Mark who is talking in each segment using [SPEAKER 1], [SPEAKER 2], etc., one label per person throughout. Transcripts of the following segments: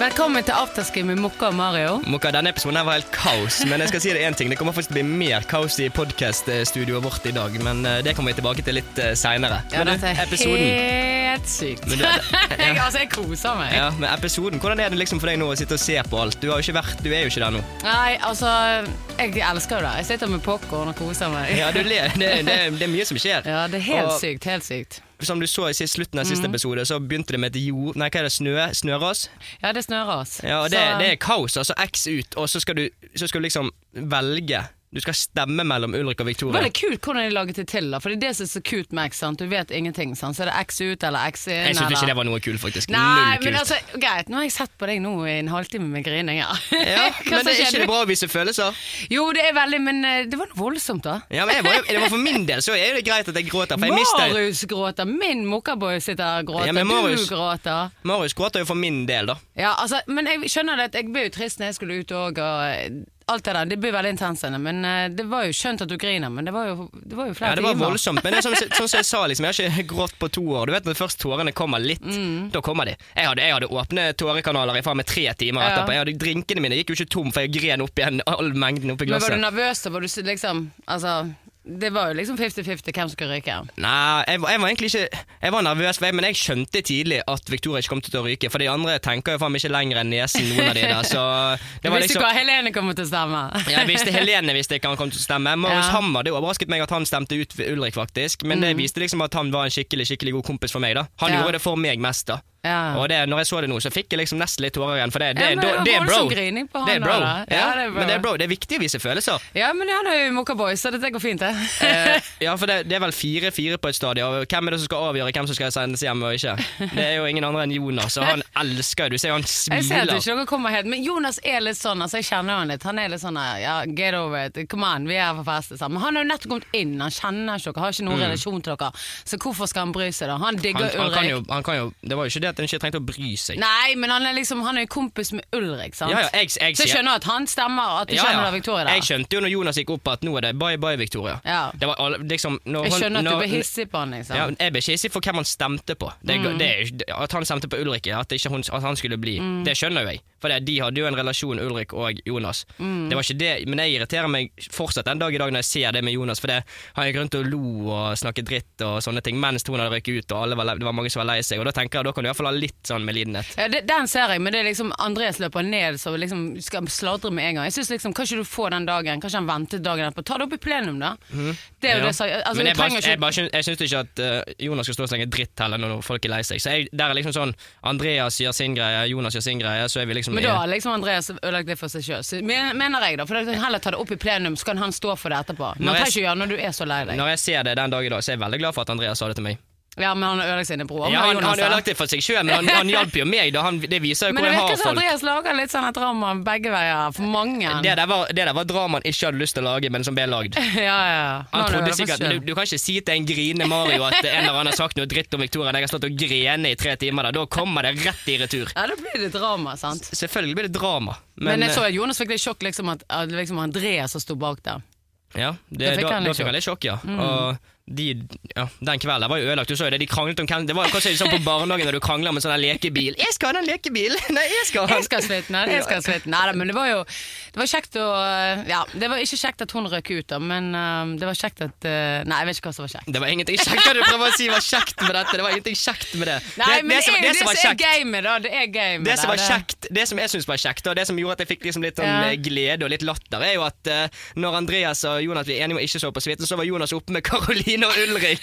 [SPEAKER 1] Velkommen til afterski med Mokka og Mario.
[SPEAKER 2] Mokka, denne episoden her var helt kaos, men jeg skal si det en ting. Det kommer faktisk til å bli mer kaos i podcast-studioet vårt i dag, men eh, det kommer vi tilbake til litt eh, senere.
[SPEAKER 1] Ja,
[SPEAKER 2] men du,
[SPEAKER 1] dette er
[SPEAKER 2] episoden...
[SPEAKER 1] helt sykt.
[SPEAKER 2] Men du, det-
[SPEAKER 1] jeg, altså, jeg koser meg.
[SPEAKER 2] Ja, men episoden, hvordan er det liksom for deg nå å sitte og se på alt? Du, har jo ikke vært, du er jo ikke der nå.
[SPEAKER 1] Nei, altså, jeg elsker jo det. Jeg sitter med popkorn og koser meg.
[SPEAKER 2] Ja, du ler. Det, det, det er mye som skjer.
[SPEAKER 1] Ja, Mm. det er helt
[SPEAKER 2] Og-
[SPEAKER 1] sykt. Helt sykt.
[SPEAKER 2] Som du så i sist- slutten av siste episode, så begynte det med et jord... Nei, hva er det? Snø? Snøras?
[SPEAKER 1] Ja, det snører oss.
[SPEAKER 2] Ja, og det,
[SPEAKER 1] Så-
[SPEAKER 2] det er kaos. Altså X ut, og så skal du, så skal du liksom velge. Du skal stemme mellom Ulrik og Victoria.
[SPEAKER 1] Veldig kult hvordan de laget det til. da For det er det som er så kult med X. sant? Du vet ingenting. sant? Så er det X ut eller X inn.
[SPEAKER 2] Jeg
[SPEAKER 1] eller...
[SPEAKER 2] syntes ikke det var noe kult, faktisk.
[SPEAKER 1] Nei,
[SPEAKER 2] Null
[SPEAKER 1] men
[SPEAKER 2] kult.
[SPEAKER 1] altså, greit, nå har jeg sett på deg nå i en halvtime med grining. Ja.
[SPEAKER 2] Ja,
[SPEAKER 1] Hva som
[SPEAKER 2] men det er
[SPEAKER 1] skjedde?
[SPEAKER 2] ikke det bra å vise følelser.
[SPEAKER 1] Jo, det er veldig, men eh, det var noe voldsomt, da.
[SPEAKER 2] Ja, men jeg var, jo- det var For min del så er det greit at jeg gråter, for jeg mister
[SPEAKER 1] Marius gråter, min mokkaboy sitter her og gråter,
[SPEAKER 2] Ja, men Marius-
[SPEAKER 1] du gråter.
[SPEAKER 2] Marius gråter jo for min del, da.
[SPEAKER 1] Ja, altså, men jeg skjønner det, at jeg ble jo trist når jeg skulle ut òg, og eh, alt det der. Det ble veldig intensende, men eh, det var jo skjønt at du griner, men det var jo, det var jo flere
[SPEAKER 2] Ja, Det var
[SPEAKER 1] timer.
[SPEAKER 2] voldsomt, men det er sånn, sånn som jeg sa, liksom, jeg har ikke grått på to år. Du vet Når først tårene kommer litt,
[SPEAKER 1] Mm.
[SPEAKER 2] da kommer de. Jeg hadde, jeg hadde åpne tårekanaler i faen meg tre timer
[SPEAKER 1] Ja.
[SPEAKER 2] etterpå. Jeg hadde, drinkene mine gikk jo ikke tom, for jeg gren opp igjen all mengden oppi
[SPEAKER 1] Men var
[SPEAKER 2] glasset.
[SPEAKER 1] du nervøs, og var du s- liksom Altså, det var jo liksom 50-50 hvem som skulle ryke.
[SPEAKER 2] Nei, jeg, var- jeg var egentlig ikke Jeg var nervøs, for jeg, men jeg skjønte tidlig at Victoria ikke kom til å ryke. For de andre tenker jo faen meg ikke lenger enn nesen, noen av de der. Så det
[SPEAKER 1] Du
[SPEAKER 2] var
[SPEAKER 1] visste
[SPEAKER 2] liksom
[SPEAKER 1] ikke hva Helene kom til å stemme.
[SPEAKER 2] Jeg visste Helene visste ikke han kom til å stemme. Marius
[SPEAKER 1] Ja. Mm.
[SPEAKER 2] Hammer, det overrasket meg at han stemte ut Ulrik, faktisk. Men det viste liksom at han var en skikkelig skikkelig god kompis for meg. da Han
[SPEAKER 1] Ja.
[SPEAKER 2] gjorde det for meg mest, da.
[SPEAKER 1] Ja.
[SPEAKER 2] Og det, når jeg så det nå, så fikk jeg liksom nesten litt tårer igjen. For det, det,
[SPEAKER 1] Ja, men
[SPEAKER 2] det,
[SPEAKER 1] det
[SPEAKER 2] det
[SPEAKER 1] var
[SPEAKER 2] er bro.
[SPEAKER 1] voldsom grining på han
[SPEAKER 2] det er bro.
[SPEAKER 1] da, da.
[SPEAKER 2] Ja,
[SPEAKER 1] Ja, det er bro.
[SPEAKER 2] Men det er bro. Det er viktig å vise følelser.
[SPEAKER 1] Ja, men han er jo mokkaboy, så dette går fint, det.
[SPEAKER 2] Eh, ja, for det, det er vel fire-fire på et stadie, og hvem er det som skal avgjøre hvem som skal sendes hjem og ikke? Det er jo ingen andre enn Jonas, og han elsker jo Du ser jo han
[SPEAKER 1] Jeg ser at
[SPEAKER 2] smiler.
[SPEAKER 1] ikke dere kommer helt Men Jonas er litt sånn, altså jeg kjenner han litt. Han er litt sånn ja, get over it. Come on, vi er her for å feste sammen. Men han har jo nettopp kommet inn, han kjenner ikke dere, har ikke noen relasjon til dere. Så hvorfor skal han bry seg, da? Han digger
[SPEAKER 2] Mm. Han, han, kan
[SPEAKER 1] Ulrik.
[SPEAKER 2] jo, han kan jo Det var jo ikke det at han ikke trengte å bry seg.
[SPEAKER 1] Nei, men han er liksom Han er jo kompis med Ulrik, sant?
[SPEAKER 2] Ja, ja, jeg, jeg,
[SPEAKER 1] så jeg
[SPEAKER 2] sier-
[SPEAKER 1] skjønner at han stemmer, at du
[SPEAKER 2] Ja,
[SPEAKER 1] kjenner
[SPEAKER 2] ja.
[SPEAKER 1] da Victoria der.
[SPEAKER 2] Jeg skjønte jo når Jonas gikk opp at nå er det bye bye, Victoria.
[SPEAKER 1] Ja.
[SPEAKER 2] Det var all- liksom, når
[SPEAKER 1] Jeg
[SPEAKER 2] han-
[SPEAKER 1] skjønner at
[SPEAKER 2] når-
[SPEAKER 1] du blir hissig på han, liksom.
[SPEAKER 2] Ja, jeg ble ikke hissig for hvem han stemte på. Det,
[SPEAKER 1] Mm.
[SPEAKER 2] det, er jo ikke- at han stemte på Ulrik, at, ikke hun, at han skulle bli,
[SPEAKER 1] Mm.
[SPEAKER 2] det skjønner jo jeg. For det, de hadde jo en relasjon, Ulrik og Jonas.
[SPEAKER 1] Mm.
[SPEAKER 2] Det var ikke det, Men jeg irriterer meg fortsatt den dag i dag når jeg ser det med Jonas, for det, han gikk rundt og lo og snakket dritt og sånne ting mens Tone hadde røyket ut, og alle var, lei- det var mange som var lei seg. Og Da tenker jeg, da kan du iallfall ha litt sånn medlidenhet.
[SPEAKER 1] Ja, det, den ser jeg, men det er liksom Andreas løper ned så liksom skal sladre med en gang. Jeg synes liksom, Kanskje du får den dagen, kanskje han ventet dagen etterpå. Ta det opp i plenum, da. Det er jo
[SPEAKER 2] Mhm. Ja.
[SPEAKER 1] det som altså, du
[SPEAKER 2] Men jeg, bare,
[SPEAKER 1] trenger
[SPEAKER 2] jeg, bare syns- jeg syns ikke at eh, Jonas skal stå og slenge dritt heller når folk er lei seg. Så jeg, der er liksom sånn Andreas gjør sin greie, Jonas gjør sin greie, så er vi liksom
[SPEAKER 1] Men da har liksom Andreas ødelagt det for seg sjøl, mener jeg, da. For da kan han heller ta det opp i plenum, så kan han stå for det etterpå. Men
[SPEAKER 2] Når
[SPEAKER 1] han
[SPEAKER 2] jeg-
[SPEAKER 1] trenger ikke gjøre det når du er så lei deg.
[SPEAKER 2] Når jeg ser det den dag i dag, så er jeg veldig glad for at Andreas sa det til meg.
[SPEAKER 1] Ja, men han har ødelagt sine broer.
[SPEAKER 2] Ja, han,
[SPEAKER 1] Men
[SPEAKER 2] han
[SPEAKER 1] Jonas, da?
[SPEAKER 2] ødelagte det for seg sjøl, men han, han hjalp jo meg. Da. Han, det viser jo
[SPEAKER 1] men
[SPEAKER 2] hvor
[SPEAKER 1] det
[SPEAKER 2] jeg
[SPEAKER 1] virker
[SPEAKER 2] har
[SPEAKER 1] som
[SPEAKER 2] folk. Eh,
[SPEAKER 1] Andreas lager litt sånn et drama begge veier, for mange.
[SPEAKER 2] Det der var, det der var drama han ikke hadde lyst til å lage, men som ble lagd.
[SPEAKER 1] ja, ja. Nå
[SPEAKER 2] Han
[SPEAKER 1] har du
[SPEAKER 2] trodde
[SPEAKER 1] ødelagt
[SPEAKER 2] sikkert,
[SPEAKER 1] for
[SPEAKER 2] du,
[SPEAKER 1] selv.
[SPEAKER 2] du kan ikke si til en grine Mario at en eller annen har sagt noe dritt om Victoria. Jeg har stått og grene i tre timer. Da, da kommer det rett i retur.
[SPEAKER 1] Ja, da blir det drama, sant.
[SPEAKER 2] Selvfølgelig blir det drama,
[SPEAKER 1] Men,
[SPEAKER 2] men, eh,
[SPEAKER 1] jeg så at Jonas fikk litt sjokk liksom at, at liksom Andreas som sto bak der.
[SPEAKER 2] Ja, det,
[SPEAKER 1] Da fikk
[SPEAKER 2] da,
[SPEAKER 1] han liksom. Mm.
[SPEAKER 2] da
[SPEAKER 1] litt
[SPEAKER 2] fikk han litt sjokk, ja. Og de, ja, den kvelden var jo ødelagt. Du så jo det, de kranglet om hvem Det var jo kanskje sånn på barnehagen når du krangler om en sånn der lekebil. 'Jeg skal ha den lekebilen!' Nei, jeg skal ha
[SPEAKER 1] Jeg
[SPEAKER 2] den.
[SPEAKER 1] skal sliten, nei, jeg skal sliten. Nei, da, men det var jo Det var kjekt å Ja, det var ikke kjekt at hun røk ut, da, men eh, det var kjekt at eh, Nei, jeg vet ikke hva som var kjekt.
[SPEAKER 2] Det var ingenting kjekt hva du prøver å si var kjekt med dette. Det var ingenting kjekt med det.
[SPEAKER 1] Nei,
[SPEAKER 2] det,
[SPEAKER 1] men det,
[SPEAKER 2] som-
[SPEAKER 1] er jo det
[SPEAKER 2] som var
[SPEAKER 1] som er
[SPEAKER 2] kjekt-
[SPEAKER 1] gamet, da. Det er gamet.
[SPEAKER 2] det som
[SPEAKER 1] da,
[SPEAKER 2] var kjekt, det som jeg synes var kjekt, og det som gjorde at jeg fikk liksom litt sånn
[SPEAKER 1] Ja.
[SPEAKER 2] eh, glede og litt latter, er jo at eh, når Andreas og Jonas ble enige om å ikke sove på suiten, så var Jonas oppe med Karoline og Ulrik.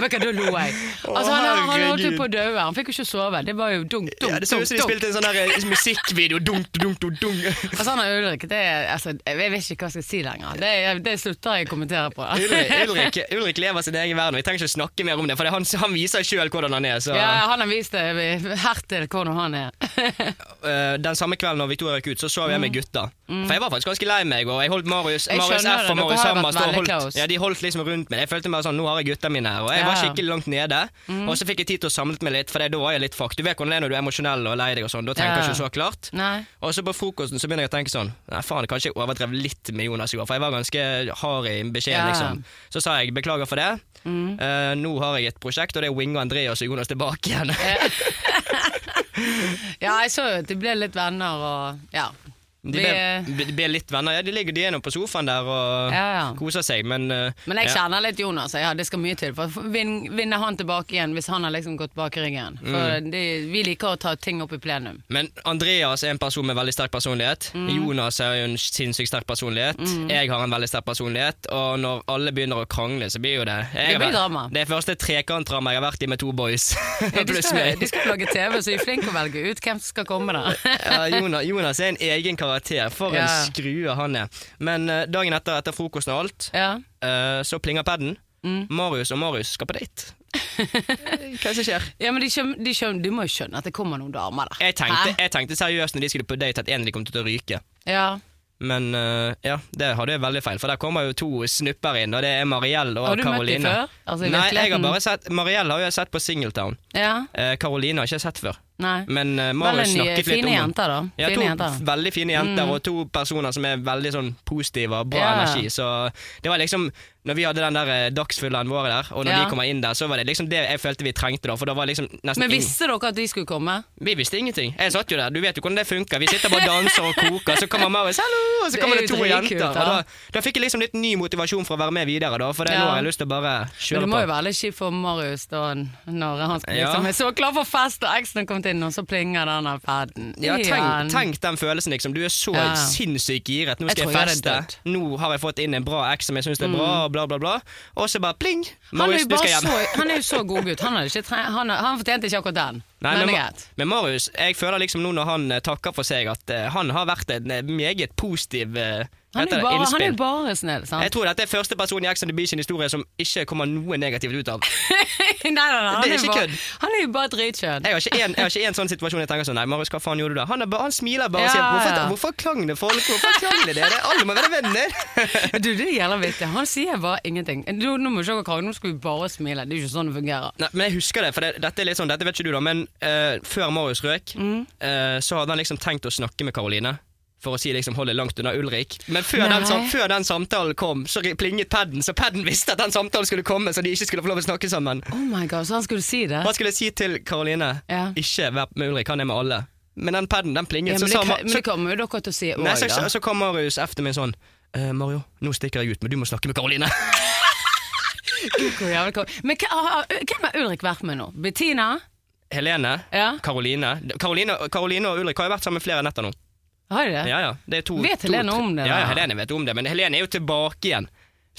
[SPEAKER 1] Vet du hva, da lo jeg. Altså, han, han holdt jo på å daue. Han fikk jo ikke sove. Det var jo dunk, dunk,
[SPEAKER 2] Ja, det så ut
[SPEAKER 1] dunk.
[SPEAKER 2] som de
[SPEAKER 1] dunk.
[SPEAKER 2] spilte en sånn der eh, musikkvideo. Dunk, dunk, dunk, dunk.
[SPEAKER 1] Altså, han er Ulrik. Det er, altså, jeg vet ikke hva jeg skal si lenger. Det, det slutter jeg å kommentere på.
[SPEAKER 2] Ulrik, Ulrik, Ulrik lever sin egen verden, og vi trenger ikke snakke mer om det, for det er han, han viser sjøl hvordan han er. Så,
[SPEAKER 1] Ja, han har vist det hertil hvordan han er.
[SPEAKER 2] eh, øh, den samme kvelden når Victoria gikk ut, så sov jeg med gutta. For jeg var faktisk ganske lei meg, og jeg holdt Marius,
[SPEAKER 1] Mm. Jeg
[SPEAKER 2] Marius
[SPEAKER 1] skjønner
[SPEAKER 2] F
[SPEAKER 1] det,
[SPEAKER 2] og
[SPEAKER 1] dere
[SPEAKER 2] Marius
[SPEAKER 1] har jo
[SPEAKER 2] Hammers
[SPEAKER 1] vært
[SPEAKER 2] da
[SPEAKER 1] veldig
[SPEAKER 2] holdt,
[SPEAKER 1] close.
[SPEAKER 2] ja, de holdt liksom rundt meg. Jeg følte meg sånn Nå har jeg gutta mine her. Og jeg
[SPEAKER 1] Ja. Mm.
[SPEAKER 2] var skikkelig langt nede. Og så fikk jeg tid til å samlet meg litt, for da var jeg litt fucked. Du vet hvordan det er når du er emosjonell og lei deg og sånn. Da tenker
[SPEAKER 1] Ja.
[SPEAKER 2] du ikke så klart.
[SPEAKER 1] Nei.
[SPEAKER 2] Og så på frokosten så begynner jeg å tenke sånn Nei, faen, kanskje jeg overdrev litt med Jonas i går, for jeg var ganske hard i beskjeden,
[SPEAKER 1] Ja. Mm.
[SPEAKER 2] liksom. Så sa jeg beklager for det. Eh, nå har jeg et prosjekt, og det er å winge Andreas og Jonas tilbake igjen.
[SPEAKER 1] Ja, jeg så jo at de ble litt venner og Ja.
[SPEAKER 2] De
[SPEAKER 1] Vi, eh,
[SPEAKER 2] ble, ble- ble litt venner. Ja, de ligger de er nå på sofaen der og
[SPEAKER 1] Ja, ja.
[SPEAKER 2] koser seg, men eh,
[SPEAKER 1] men jeg
[SPEAKER 2] ja.
[SPEAKER 1] kjenner litt Jonas. Ja, det skal mye til for å vin- vinne han tilbake igjen hvis han har liksom gått bak i ryggen. For
[SPEAKER 2] Mm.
[SPEAKER 1] de, vi liker å ta ting opp i plenum.
[SPEAKER 2] Men Andreas er en person med veldig sterk personlighet.
[SPEAKER 1] Mm.
[SPEAKER 2] Jonas er jo en sinnssykt sterk personlighet. Jeg har en veldig sterk personlighet. Og når alle begynner å krangle, så blir jo det jeg
[SPEAKER 1] Det blir
[SPEAKER 2] har-
[SPEAKER 1] drama.
[SPEAKER 2] Det er første trekantdrama jeg har vært i med to boys.
[SPEAKER 1] De
[SPEAKER 2] Pluss
[SPEAKER 1] skal,
[SPEAKER 2] meg.
[SPEAKER 1] de skal lage TV, så de er flinke å velge ut hvem som skal komme der.
[SPEAKER 2] ja, Jonas, Jonas er en egen karakter. For
[SPEAKER 1] Ja.
[SPEAKER 2] en skrue han er. Men eh, dagen etter, etter frokosten og alt,
[SPEAKER 1] Ja. Mm.
[SPEAKER 2] eh, så plinger paden. Marius og Marius skal på date. Hva er det som skjer?
[SPEAKER 1] Ja, men de, skjøn, de, skjøn, de må jo skjønne at det kommer noen damer der.
[SPEAKER 2] Jeg tenkte,
[SPEAKER 1] Hæ?
[SPEAKER 2] jeg tenkte seriøst når de skulle på date at en av de kom til å ryke.
[SPEAKER 1] Ja.
[SPEAKER 2] Men eh, ja, det hadde jeg veldig feil, for der kommer jo to snupper inn, og det er Mariell og
[SPEAKER 1] Har du møtt de
[SPEAKER 2] Karoline.
[SPEAKER 1] før? Altså, i
[SPEAKER 2] Nei, jeg har
[SPEAKER 1] virkeligheten?
[SPEAKER 2] bare sett Mariell har jeg sett på Singletown.
[SPEAKER 1] ja.
[SPEAKER 2] Eh, Karoline har jeg ikke sett før.
[SPEAKER 1] Nei.
[SPEAKER 2] Men eh,
[SPEAKER 1] Veldig
[SPEAKER 2] Marius
[SPEAKER 1] nye,
[SPEAKER 2] snakket litt om
[SPEAKER 1] fine
[SPEAKER 2] henne.
[SPEAKER 1] jenter, da.
[SPEAKER 2] Ja, to
[SPEAKER 1] Fine jenter. Mm.
[SPEAKER 2] f- veldig fine jenter og to personer som er veldig sånn positive og bra
[SPEAKER 1] Ja.
[SPEAKER 2] energi. Så det var liksom Når vi hadde den der eh, dagsfyllaen vår der, og når
[SPEAKER 1] Ja.
[SPEAKER 2] de kommer inn der, så var det liksom det jeg følte vi trengte da. For da var liksom nesten
[SPEAKER 1] Men
[SPEAKER 2] ingen-
[SPEAKER 1] visste dere at de skulle komme?
[SPEAKER 2] Vi visste ingenting. Jeg satt jo der, du vet jo hvordan det funker. Vi sitter bare og danser og koker, så kommer Marius, hallo, og så
[SPEAKER 1] Det
[SPEAKER 2] kommer
[SPEAKER 1] er
[SPEAKER 2] det
[SPEAKER 1] jo
[SPEAKER 2] to
[SPEAKER 1] dritkult,
[SPEAKER 2] jenter. Og
[SPEAKER 1] da.
[SPEAKER 2] da, da fikk jeg liksom litt ny motivasjon for å være med videre, da. For det
[SPEAKER 1] Ja.
[SPEAKER 2] nå har jeg lyst til å bare
[SPEAKER 1] Men
[SPEAKER 2] kjøre
[SPEAKER 1] det må jo
[SPEAKER 2] på.
[SPEAKER 1] være litt kjipt for Marius da, når han skal
[SPEAKER 2] Ja.
[SPEAKER 1] liksom er så klar for fest, og eksen har kommet inn, og så plinger denne paden.
[SPEAKER 2] Ja,
[SPEAKER 1] Igjen.
[SPEAKER 2] tenk, tenk den følelsen, liksom. Du er så
[SPEAKER 1] Ja.
[SPEAKER 2] sinnssykt giret. Nå
[SPEAKER 1] Jeg tror
[SPEAKER 2] skal jeg,
[SPEAKER 1] jeg hadde Mm.
[SPEAKER 2] feste. Nå har jeg fått inn en bra eks som jeg syns er bra, og bla, bla, bla. Og så bare
[SPEAKER 1] Han
[SPEAKER 2] pling!
[SPEAKER 1] er,
[SPEAKER 2] Marius,
[SPEAKER 1] jo
[SPEAKER 2] du
[SPEAKER 1] bare
[SPEAKER 2] skal hjem.
[SPEAKER 1] så, han er jo så god gutt. Han, hadde ikke tre han, han fortjente ikke akkurat den.
[SPEAKER 2] Nei,
[SPEAKER 1] men det
[SPEAKER 2] men,
[SPEAKER 1] er
[SPEAKER 2] Ma-
[SPEAKER 1] greit.
[SPEAKER 2] men Marius, jeg føler liksom nå når han eh, takker for seg, at eh, han har vært en eh, meget positiv eh,
[SPEAKER 1] Han
[SPEAKER 2] heter
[SPEAKER 1] er
[SPEAKER 2] det,
[SPEAKER 1] jo bare, han
[SPEAKER 2] innspill.
[SPEAKER 1] er jo bare snill,
[SPEAKER 2] Jeg
[SPEAKER 1] sant?
[SPEAKER 2] tror dette er første person i Ex on the Beach sin historie som ikke kommer noe negativt ut av.
[SPEAKER 1] nei, nei, nei, han
[SPEAKER 2] Det er
[SPEAKER 1] er,
[SPEAKER 2] ikke
[SPEAKER 1] jo bare,
[SPEAKER 2] kødd.
[SPEAKER 1] han er jo bare dritkjønn.
[SPEAKER 2] Jeg har ikke en, jeg har ikke en sånn situasjon jeg tenker sånn Nei, Marius, hva faen gjorde du da? Han, er bare, han smiler bare og
[SPEAKER 1] Ja,
[SPEAKER 2] sier hvorfor,
[SPEAKER 1] ja.
[SPEAKER 2] hvorfor klang det folk? Hvorfor klang det dere? Alle må være venner!
[SPEAKER 1] Du, det gjelder vittig. Han sier bare ingenting. Du, nå må du ikke gå og krangle, nå skal vi bare smile. Det er jo ikke sånn det fungerer.
[SPEAKER 2] Nei, men jeg husker det, for det, dette er litt sånn, dette vet ikke du da, men eh, før Marius røk,
[SPEAKER 1] Mm.
[SPEAKER 2] eh, så hadde han liksom tenkt å snakke med Karoline. For å si liksom hold det langt unna Ulrik. Men før den, sam-
[SPEAKER 1] Nei.
[SPEAKER 2] før den samtalen kom, så ri- plinget padden, så padden visste at den samtalen skulle komme, så de ikke skulle få lov å snakke sammen.
[SPEAKER 1] Oh my god, så han skulle si det?
[SPEAKER 2] Han skulle si til Karoline
[SPEAKER 1] Ja.
[SPEAKER 2] Ikke vær med Ulrik, han er med alle. Men den paden, den
[SPEAKER 1] Ja,
[SPEAKER 2] plinget. så,
[SPEAKER 1] men,
[SPEAKER 2] sa
[SPEAKER 1] det,
[SPEAKER 2] Ma-
[SPEAKER 1] men
[SPEAKER 2] så,
[SPEAKER 1] det kommer jo dere til å si òg,
[SPEAKER 2] nei, så,
[SPEAKER 1] da.
[SPEAKER 2] så, så kom Marius efter meg sånn «Eh, Mario, nå stikker jeg ut, men du må snakke med Karoline.
[SPEAKER 1] Hvor jævlig kom- Men hva- har- har- hvem har Ulrik vært med nå? Bettina?
[SPEAKER 2] Helene,
[SPEAKER 1] Ja.
[SPEAKER 2] Karoline Karoline Karoline og Ulrik har jo vært sammen flere netter nå.
[SPEAKER 1] Har de det?
[SPEAKER 2] Ja, ja, det er to,
[SPEAKER 1] Vet
[SPEAKER 2] to,
[SPEAKER 1] Helene om det,
[SPEAKER 2] Ja, ja,
[SPEAKER 1] da?
[SPEAKER 2] Helene vet om det, men Helene er jo tilbake igjen.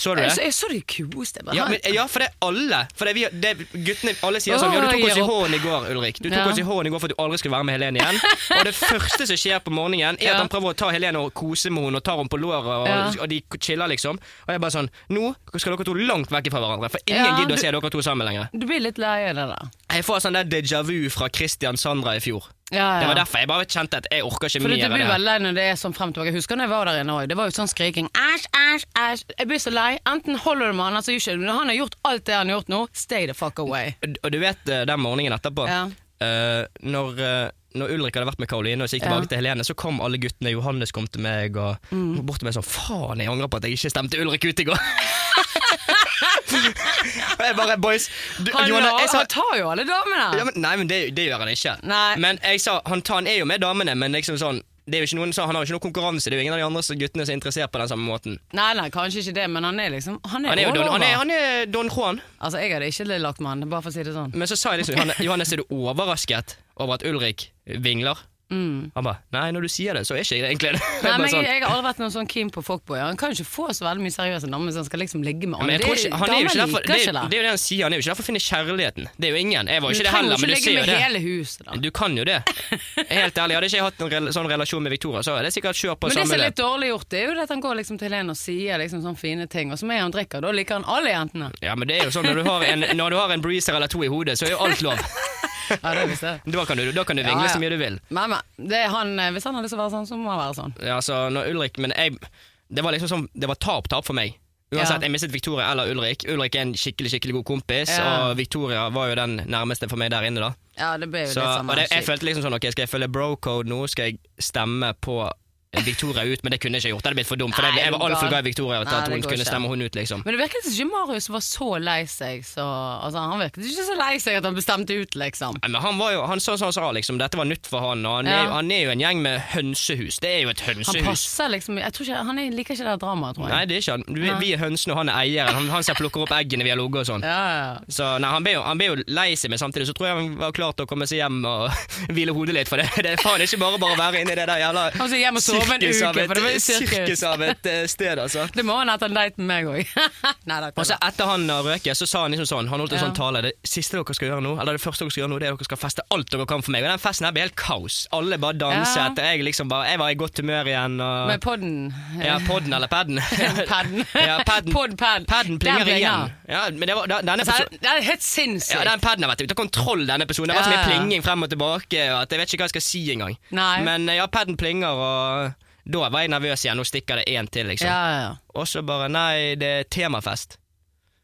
[SPEAKER 2] Så du
[SPEAKER 1] Jeg,
[SPEAKER 2] det?
[SPEAKER 1] så, jeg så de koste. bare.
[SPEAKER 2] Ja, men, ja, for det er alle. For det er vi, det er guttene, alle sier sånn Ja, du tok
[SPEAKER 1] Åh,
[SPEAKER 2] oss i
[SPEAKER 1] gir opp.
[SPEAKER 2] hånden i går, Ulrik. Du tok
[SPEAKER 1] Ja.
[SPEAKER 2] oss i hånden i går for at du aldri skulle være med Helene igjen. Og det første som skjer på morgenen, er
[SPEAKER 1] Ja.
[SPEAKER 2] at han prøver å ta Helene og kose med henne og tar henne på låret, og,
[SPEAKER 1] Ja.
[SPEAKER 2] og de chiller, liksom. Og jeg er bare sånn Nå skal dere to langt vekk fra hverandre, for ingen
[SPEAKER 1] Ja,
[SPEAKER 2] gidder
[SPEAKER 1] du-
[SPEAKER 2] å se dere to sammen lenger.
[SPEAKER 1] Du blir litt lei av det, da.
[SPEAKER 2] Jeg får sånn der déjà vu fra Christian Sandra i fjor.
[SPEAKER 1] Ja,
[SPEAKER 2] Det
[SPEAKER 1] ja.
[SPEAKER 2] var derfor jeg bare kjente at jeg orker ikke
[SPEAKER 1] For
[SPEAKER 2] mer
[SPEAKER 1] du
[SPEAKER 2] av
[SPEAKER 1] blir
[SPEAKER 2] det.
[SPEAKER 1] veldig lei når det er sånn frem og tilbake. Jeg husker når jeg var der inne òg. Det var jo sånn skriking. Æsj, æsj, æsj. Jeg blir så lei. Enten holder du med han, eller så gjør ikke du det. Når han har gjort alt det han har gjort nå, stay the fuck away.
[SPEAKER 2] Og du vet eh, den morgenen etterpå
[SPEAKER 1] Ja.
[SPEAKER 2] eh, når, eh, når Ulrik hadde vært med Karoline og så gikk tilbake til Helene, så kom alle guttene. Johannes kom til meg og mm. bort til meg sånn Faen, jeg angrer på at jeg ikke stemte Ulrik ut i går. og jeg bare Boys du,
[SPEAKER 1] Han,
[SPEAKER 2] Johannes, jeg sa,
[SPEAKER 1] han tar jo alle damene.
[SPEAKER 2] ja, men, Nei, men det, det gjør han ikke.
[SPEAKER 1] Nei.
[SPEAKER 2] Men jeg sa han, tar- han er jo med damene, men liksom sånn det er jo ikke noen, så han har jo ikke noe konkurranse. Det er jo ingen av de andre som- guttene som er interessert på den samme måten.
[SPEAKER 1] Nei, nei, kanskje ikke det, men han er liksom Han er,
[SPEAKER 2] Han er jo Don,
[SPEAKER 1] overalt.
[SPEAKER 2] han er, han er Don Juan.
[SPEAKER 1] Altså, jeg hadde ikke lagt med han, bare for å si det sånn.
[SPEAKER 2] Men så sa jeg liksom Johanne- Johannes, er du overrasket over at Ulrik vingler? Han bare Nei, når du sier det, så er ikke jeg det egentlig det.
[SPEAKER 1] Mm. Nei,
[SPEAKER 2] Jeg bare
[SPEAKER 1] men jeg,
[SPEAKER 2] sånn,
[SPEAKER 1] jeg har aldri vært noen sånn keen på fuckboyer. Han kan jo ikke få så veldig mye seriøse damer hvis han skal liksom ligge med
[SPEAKER 2] men
[SPEAKER 1] alle.
[SPEAKER 2] jeg tror ikke, han er jo ikke derfor, det,
[SPEAKER 1] liker
[SPEAKER 2] er
[SPEAKER 1] ikke
[SPEAKER 2] jo- det
[SPEAKER 1] det.
[SPEAKER 2] er jo det han sier, han er jo ikke der for å finne kjærligheten. Det er jo ingen. Jeg var jo
[SPEAKER 1] Du
[SPEAKER 2] ikke det
[SPEAKER 1] trenger jo
[SPEAKER 2] heller,
[SPEAKER 1] ikke
[SPEAKER 2] men du
[SPEAKER 1] ligge
[SPEAKER 2] ser jo
[SPEAKER 1] med
[SPEAKER 2] det.
[SPEAKER 1] hele huset, da.
[SPEAKER 2] Du kan jo det. Helt ærlig, hadde ikke jeg hatt en rel sånn relasjon med Victoria, så hadde jeg sikkert kjørt på
[SPEAKER 1] Men det som
[SPEAKER 2] samme
[SPEAKER 1] er
[SPEAKER 2] det.
[SPEAKER 1] litt dårlig gjort, det er jo det at han går liksom til Helene og sier liksom sånne fine ting, og så med han drikker, da liker han alle jentene.
[SPEAKER 2] Ja, men det er jo sånn når du har en, når du har en breezer eller to i hodet, så er jo alt lov.
[SPEAKER 1] Ja, det visste jeg.
[SPEAKER 2] Da kan du, da kan du
[SPEAKER 1] Ja,
[SPEAKER 2] vingle
[SPEAKER 1] ja.
[SPEAKER 2] så mye du vil.
[SPEAKER 1] Men, men det er han, eh, hvis han har lyst til å være sånn, så må han være sånn.
[SPEAKER 2] Ja, altså, når Ulrik Men jeg, det var liksom sånn Det var tap-tap for meg. Uansett,
[SPEAKER 1] Ja.
[SPEAKER 2] Jeg mistet Victoria eller Ulrik. Ulrik er en skikkelig skikkelig god kompis,
[SPEAKER 1] Ja.
[SPEAKER 2] og Victoria var jo den nærmeste for meg der inne. da
[SPEAKER 1] Ja, det blir jo
[SPEAKER 2] så,
[SPEAKER 1] litt
[SPEAKER 2] og
[SPEAKER 1] samme
[SPEAKER 2] det, Jeg
[SPEAKER 1] skikk.
[SPEAKER 2] følte liksom sånn Ok, skal jeg følge bro-code nå? Skal jeg stemme på Victoria ut? Men det kunne jeg ikke gjort. Det hadde blitt for dumt. For
[SPEAKER 1] Nei,
[SPEAKER 2] jeg, jeg var
[SPEAKER 1] gal.
[SPEAKER 2] altfor glad i Victoria til
[SPEAKER 1] Nei,
[SPEAKER 2] at
[SPEAKER 1] det
[SPEAKER 2] hun
[SPEAKER 1] går
[SPEAKER 2] kunne
[SPEAKER 1] ikke.
[SPEAKER 2] stemme hun ut, liksom.
[SPEAKER 1] Men det virket ikke som Marius var så lei seg. Så, altså, han virket ikke så lei seg at han bestemte ut, liksom.
[SPEAKER 2] Nei, Men han var jo, han sa som han sa, liksom, dette var nytt for han. Og han, er,
[SPEAKER 1] Ja.
[SPEAKER 2] jo- han er jo en gjeng med hønsehus. Det er jo et
[SPEAKER 1] Han
[SPEAKER 2] hønsehus.
[SPEAKER 1] passer liksom Jeg tror ikke, Han er- liker ikke det dramaet, tror jeg.
[SPEAKER 2] Nei, det er ikke han. Du, vi er hønsene, og han er eieren. Han, han som plukker opp eggene vi har ligget og sånn.
[SPEAKER 1] Ja, ja.
[SPEAKER 2] Så nei, han ble, jo, han ble jo lei seg, men samtidig så tror jeg han var klar til å komme seg hjem og hvile hodet litt. For det, det er faen ikke bare bare å være inni det der jævla
[SPEAKER 1] Han skal hjem og sove en
[SPEAKER 2] sirkus
[SPEAKER 1] uke,
[SPEAKER 2] av
[SPEAKER 1] for det var jo
[SPEAKER 2] et,
[SPEAKER 1] sirkus.
[SPEAKER 2] sirkus av et eh, sted, altså.
[SPEAKER 1] Det må han etter en date med meg òg.
[SPEAKER 2] Og så etter han har røket, så sa han liksom sånn Han holdt en
[SPEAKER 1] Ja.
[SPEAKER 2] sånn tale. Det siste dere skal gjøre nå, eller det første dere skal gjøre nå, det er at dere skal feste alt dere kan for meg. Og den festen her ble helt kaos. Alle bare danset, og jeg liksom bare Jeg var i godt humør igjen. Og,
[SPEAKER 1] Med podden.
[SPEAKER 2] ja, podden eller paden.
[SPEAKER 1] Padden.
[SPEAKER 2] ja, padden.
[SPEAKER 1] Pod, pad.
[SPEAKER 2] Padden
[SPEAKER 1] Der
[SPEAKER 2] plinger
[SPEAKER 1] plinger.
[SPEAKER 2] igjen. Ja, men det var, da- denne
[SPEAKER 1] Så
[SPEAKER 2] episo-
[SPEAKER 1] det er helt sinnssykt.
[SPEAKER 2] Ja, den paden har vært ute av kontroll, denne episoden. Det har vært
[SPEAKER 1] Ja,
[SPEAKER 2] så mye
[SPEAKER 1] ja.
[SPEAKER 2] plinging frem og tilbake. Og at jeg vet ikke hva jeg skal si engang.
[SPEAKER 1] Nei.
[SPEAKER 2] Men eh, ja, paden plinger, og da var jeg nervøs igjen. Nå stikker det én til, liksom.
[SPEAKER 1] ja, ja.
[SPEAKER 2] Og så bare Nei, det er temafest.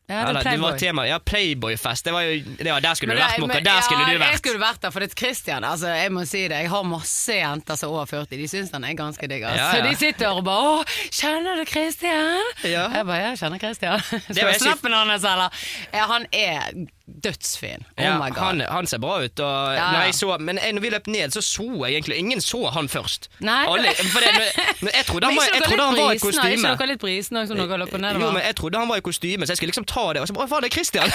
[SPEAKER 1] ja det er
[SPEAKER 2] Eller, det var
[SPEAKER 1] Playboy.
[SPEAKER 2] tema, ja, Playboy-fest. Det var jo, det var, der skulle
[SPEAKER 1] Men
[SPEAKER 2] du
[SPEAKER 1] det-
[SPEAKER 2] vært, Mokka.
[SPEAKER 1] men-
[SPEAKER 2] Der skulle
[SPEAKER 1] ja,
[SPEAKER 2] du
[SPEAKER 1] Jeg
[SPEAKER 2] vært.
[SPEAKER 1] skulle vært der, for det er Christian. Altså, jeg må si det. Jeg har masse jenter som er over 40. De syns han er ganske digg. Altså.
[SPEAKER 2] Ja,
[SPEAKER 1] Så
[SPEAKER 2] ja.
[SPEAKER 1] de sitter og bare 'Å, kjenner du Christian?'
[SPEAKER 2] Ja.
[SPEAKER 1] Jeg bare 'Ja, jeg kjenner Christian'.
[SPEAKER 2] Det
[SPEAKER 1] Så
[SPEAKER 2] var jeg
[SPEAKER 1] snappen hans, eller? Ja, han er dødsfin. Oh
[SPEAKER 2] Ja,
[SPEAKER 1] my god.
[SPEAKER 2] han, han ser bra ut. Og,
[SPEAKER 1] Ja,
[SPEAKER 2] når
[SPEAKER 1] ja.
[SPEAKER 2] jeg så, men jeg, når vi løp ned, så så jeg egentlig Ingen så han først.
[SPEAKER 1] Nei.
[SPEAKER 2] Alle, for det, når, jeg trodde
[SPEAKER 1] Men
[SPEAKER 2] han, var,
[SPEAKER 1] ikke
[SPEAKER 2] jeg
[SPEAKER 1] dere
[SPEAKER 2] trodde
[SPEAKER 1] litt
[SPEAKER 2] han var i
[SPEAKER 1] brisen, da?
[SPEAKER 2] kostyme.
[SPEAKER 1] Ikke dere litt brisen også, når dere løper nedover?
[SPEAKER 2] Jo, men Jeg trodde han var i kostyme, så jeg skulle liksom ta det. Og så bare, «Å, faen, det er Christian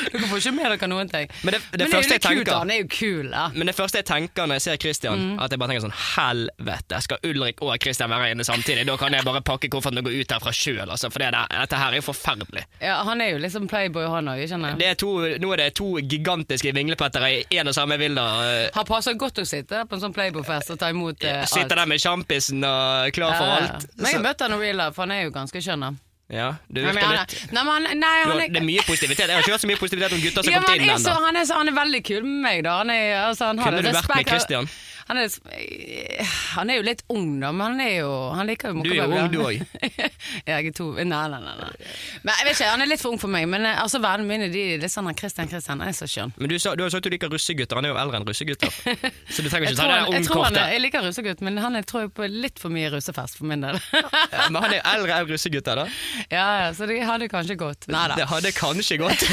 [SPEAKER 1] Dere får ikke med dere noen ting.
[SPEAKER 2] Men det- det
[SPEAKER 1] er
[SPEAKER 2] første
[SPEAKER 1] jo litt
[SPEAKER 2] jeg
[SPEAKER 1] kult,
[SPEAKER 2] tenker-
[SPEAKER 1] da. Han er jo kul, da.
[SPEAKER 2] Men det første jeg tenker når jeg ser Christian,
[SPEAKER 1] Mm.
[SPEAKER 2] at jeg bare tenker sånn Helvete, skal Ulrik og Christian være inne samtidig? Da kan jeg bare pakke kofferten og gå ut herfra sjøl, altså. For det der, dette her er jo forferdelig.
[SPEAKER 1] Ja, han er jo liksom playboy, han òg.
[SPEAKER 2] Det er to, nå er det to gigantiske vinglepettere i én og samme villa.
[SPEAKER 1] Han passer godt å sitte på en sånn playboy-fest og ta imot eh,
[SPEAKER 2] Sitter der med sjampisen og klar for
[SPEAKER 1] Ja, ja.
[SPEAKER 2] alt.
[SPEAKER 1] Men jeg har
[SPEAKER 2] Så,
[SPEAKER 1] møtt han i real life, for han er jo ganske skjønn. han.
[SPEAKER 2] ja, du
[SPEAKER 1] Nei, men
[SPEAKER 2] virker
[SPEAKER 1] han
[SPEAKER 2] litt
[SPEAKER 1] er- Nei, men han- nei,
[SPEAKER 2] du,
[SPEAKER 1] han
[SPEAKER 2] har- Det er
[SPEAKER 1] er
[SPEAKER 2] mye positivitet. Jeg har ikke hørt så mye positivitet om gutter som
[SPEAKER 1] ja,
[SPEAKER 2] har
[SPEAKER 1] men
[SPEAKER 2] kommet
[SPEAKER 1] han,
[SPEAKER 2] inn
[SPEAKER 1] er så,
[SPEAKER 2] ennå.
[SPEAKER 1] han, er så, han er veldig kul med meg, da. Han er, altså, han har
[SPEAKER 2] Kunne
[SPEAKER 1] en
[SPEAKER 2] du vært med
[SPEAKER 1] respekt, han-
[SPEAKER 2] Christian?
[SPEAKER 1] Han er, eh, han er jo litt ung, da, men han er jo Han liker jo
[SPEAKER 2] Du er jo
[SPEAKER 1] mokkabøller.
[SPEAKER 2] ung, du òg.
[SPEAKER 1] jeg er to Nei, nei, nei. nei. Men jeg vet ikke, Han er litt for ung for meg, men eh, altså, vennene mine de er litt sånn Christian Christian han er så skjønn.
[SPEAKER 2] Men du, sa, du har sagt du liker russegutter. Han er jo eldre enn russegutter. Så du trenger
[SPEAKER 1] Jeg,
[SPEAKER 2] ikke
[SPEAKER 1] tror
[SPEAKER 2] ta
[SPEAKER 1] han,
[SPEAKER 2] det
[SPEAKER 1] jeg, tror han er,
[SPEAKER 2] ungkortet.
[SPEAKER 1] jeg liker russegutt, men han er tror jeg på litt for mye russefest for min del.
[SPEAKER 2] Ja, men han er eldre enn russegutter, da.
[SPEAKER 1] ja, ja, Så det hadde kanskje gått. Nei da.
[SPEAKER 2] Det hadde kanskje gått.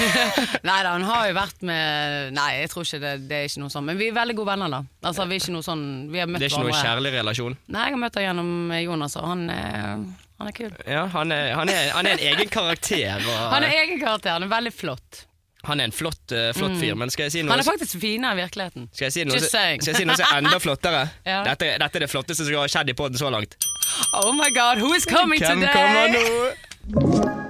[SPEAKER 1] Nei da, han har jo vært med Nei, jeg tror ikke det, det er ikke noe sånn. Men vi er veldig gode venner, da. Altså, vi er ikke noe sånn Vi har møtt
[SPEAKER 2] Det er ikke noe
[SPEAKER 1] hverandre.
[SPEAKER 2] kjærlig relasjon.
[SPEAKER 1] Nei, jeg har møtt ham gjennom eh, Jonas, og han, eh, han er kul.
[SPEAKER 2] Ja, han er, han er, han er en egen karakter.
[SPEAKER 1] Han
[SPEAKER 2] Og
[SPEAKER 1] er egen karakter, han er veldig flott.
[SPEAKER 2] han er en flott, eh, flott fyr. Men skal jeg si noe
[SPEAKER 1] Mm. Han er faktisk finere i virkeligheten.
[SPEAKER 2] skal jeg si noe,
[SPEAKER 1] Just
[SPEAKER 2] som-
[SPEAKER 1] saying.
[SPEAKER 2] skal jeg si noe som er enda flottere?
[SPEAKER 1] Ja.
[SPEAKER 2] Dette, dette er det flotteste som har skjedd i poden så langt.
[SPEAKER 1] Oh my god, who is coming
[SPEAKER 2] Hvem
[SPEAKER 1] today?
[SPEAKER 2] kommer nå?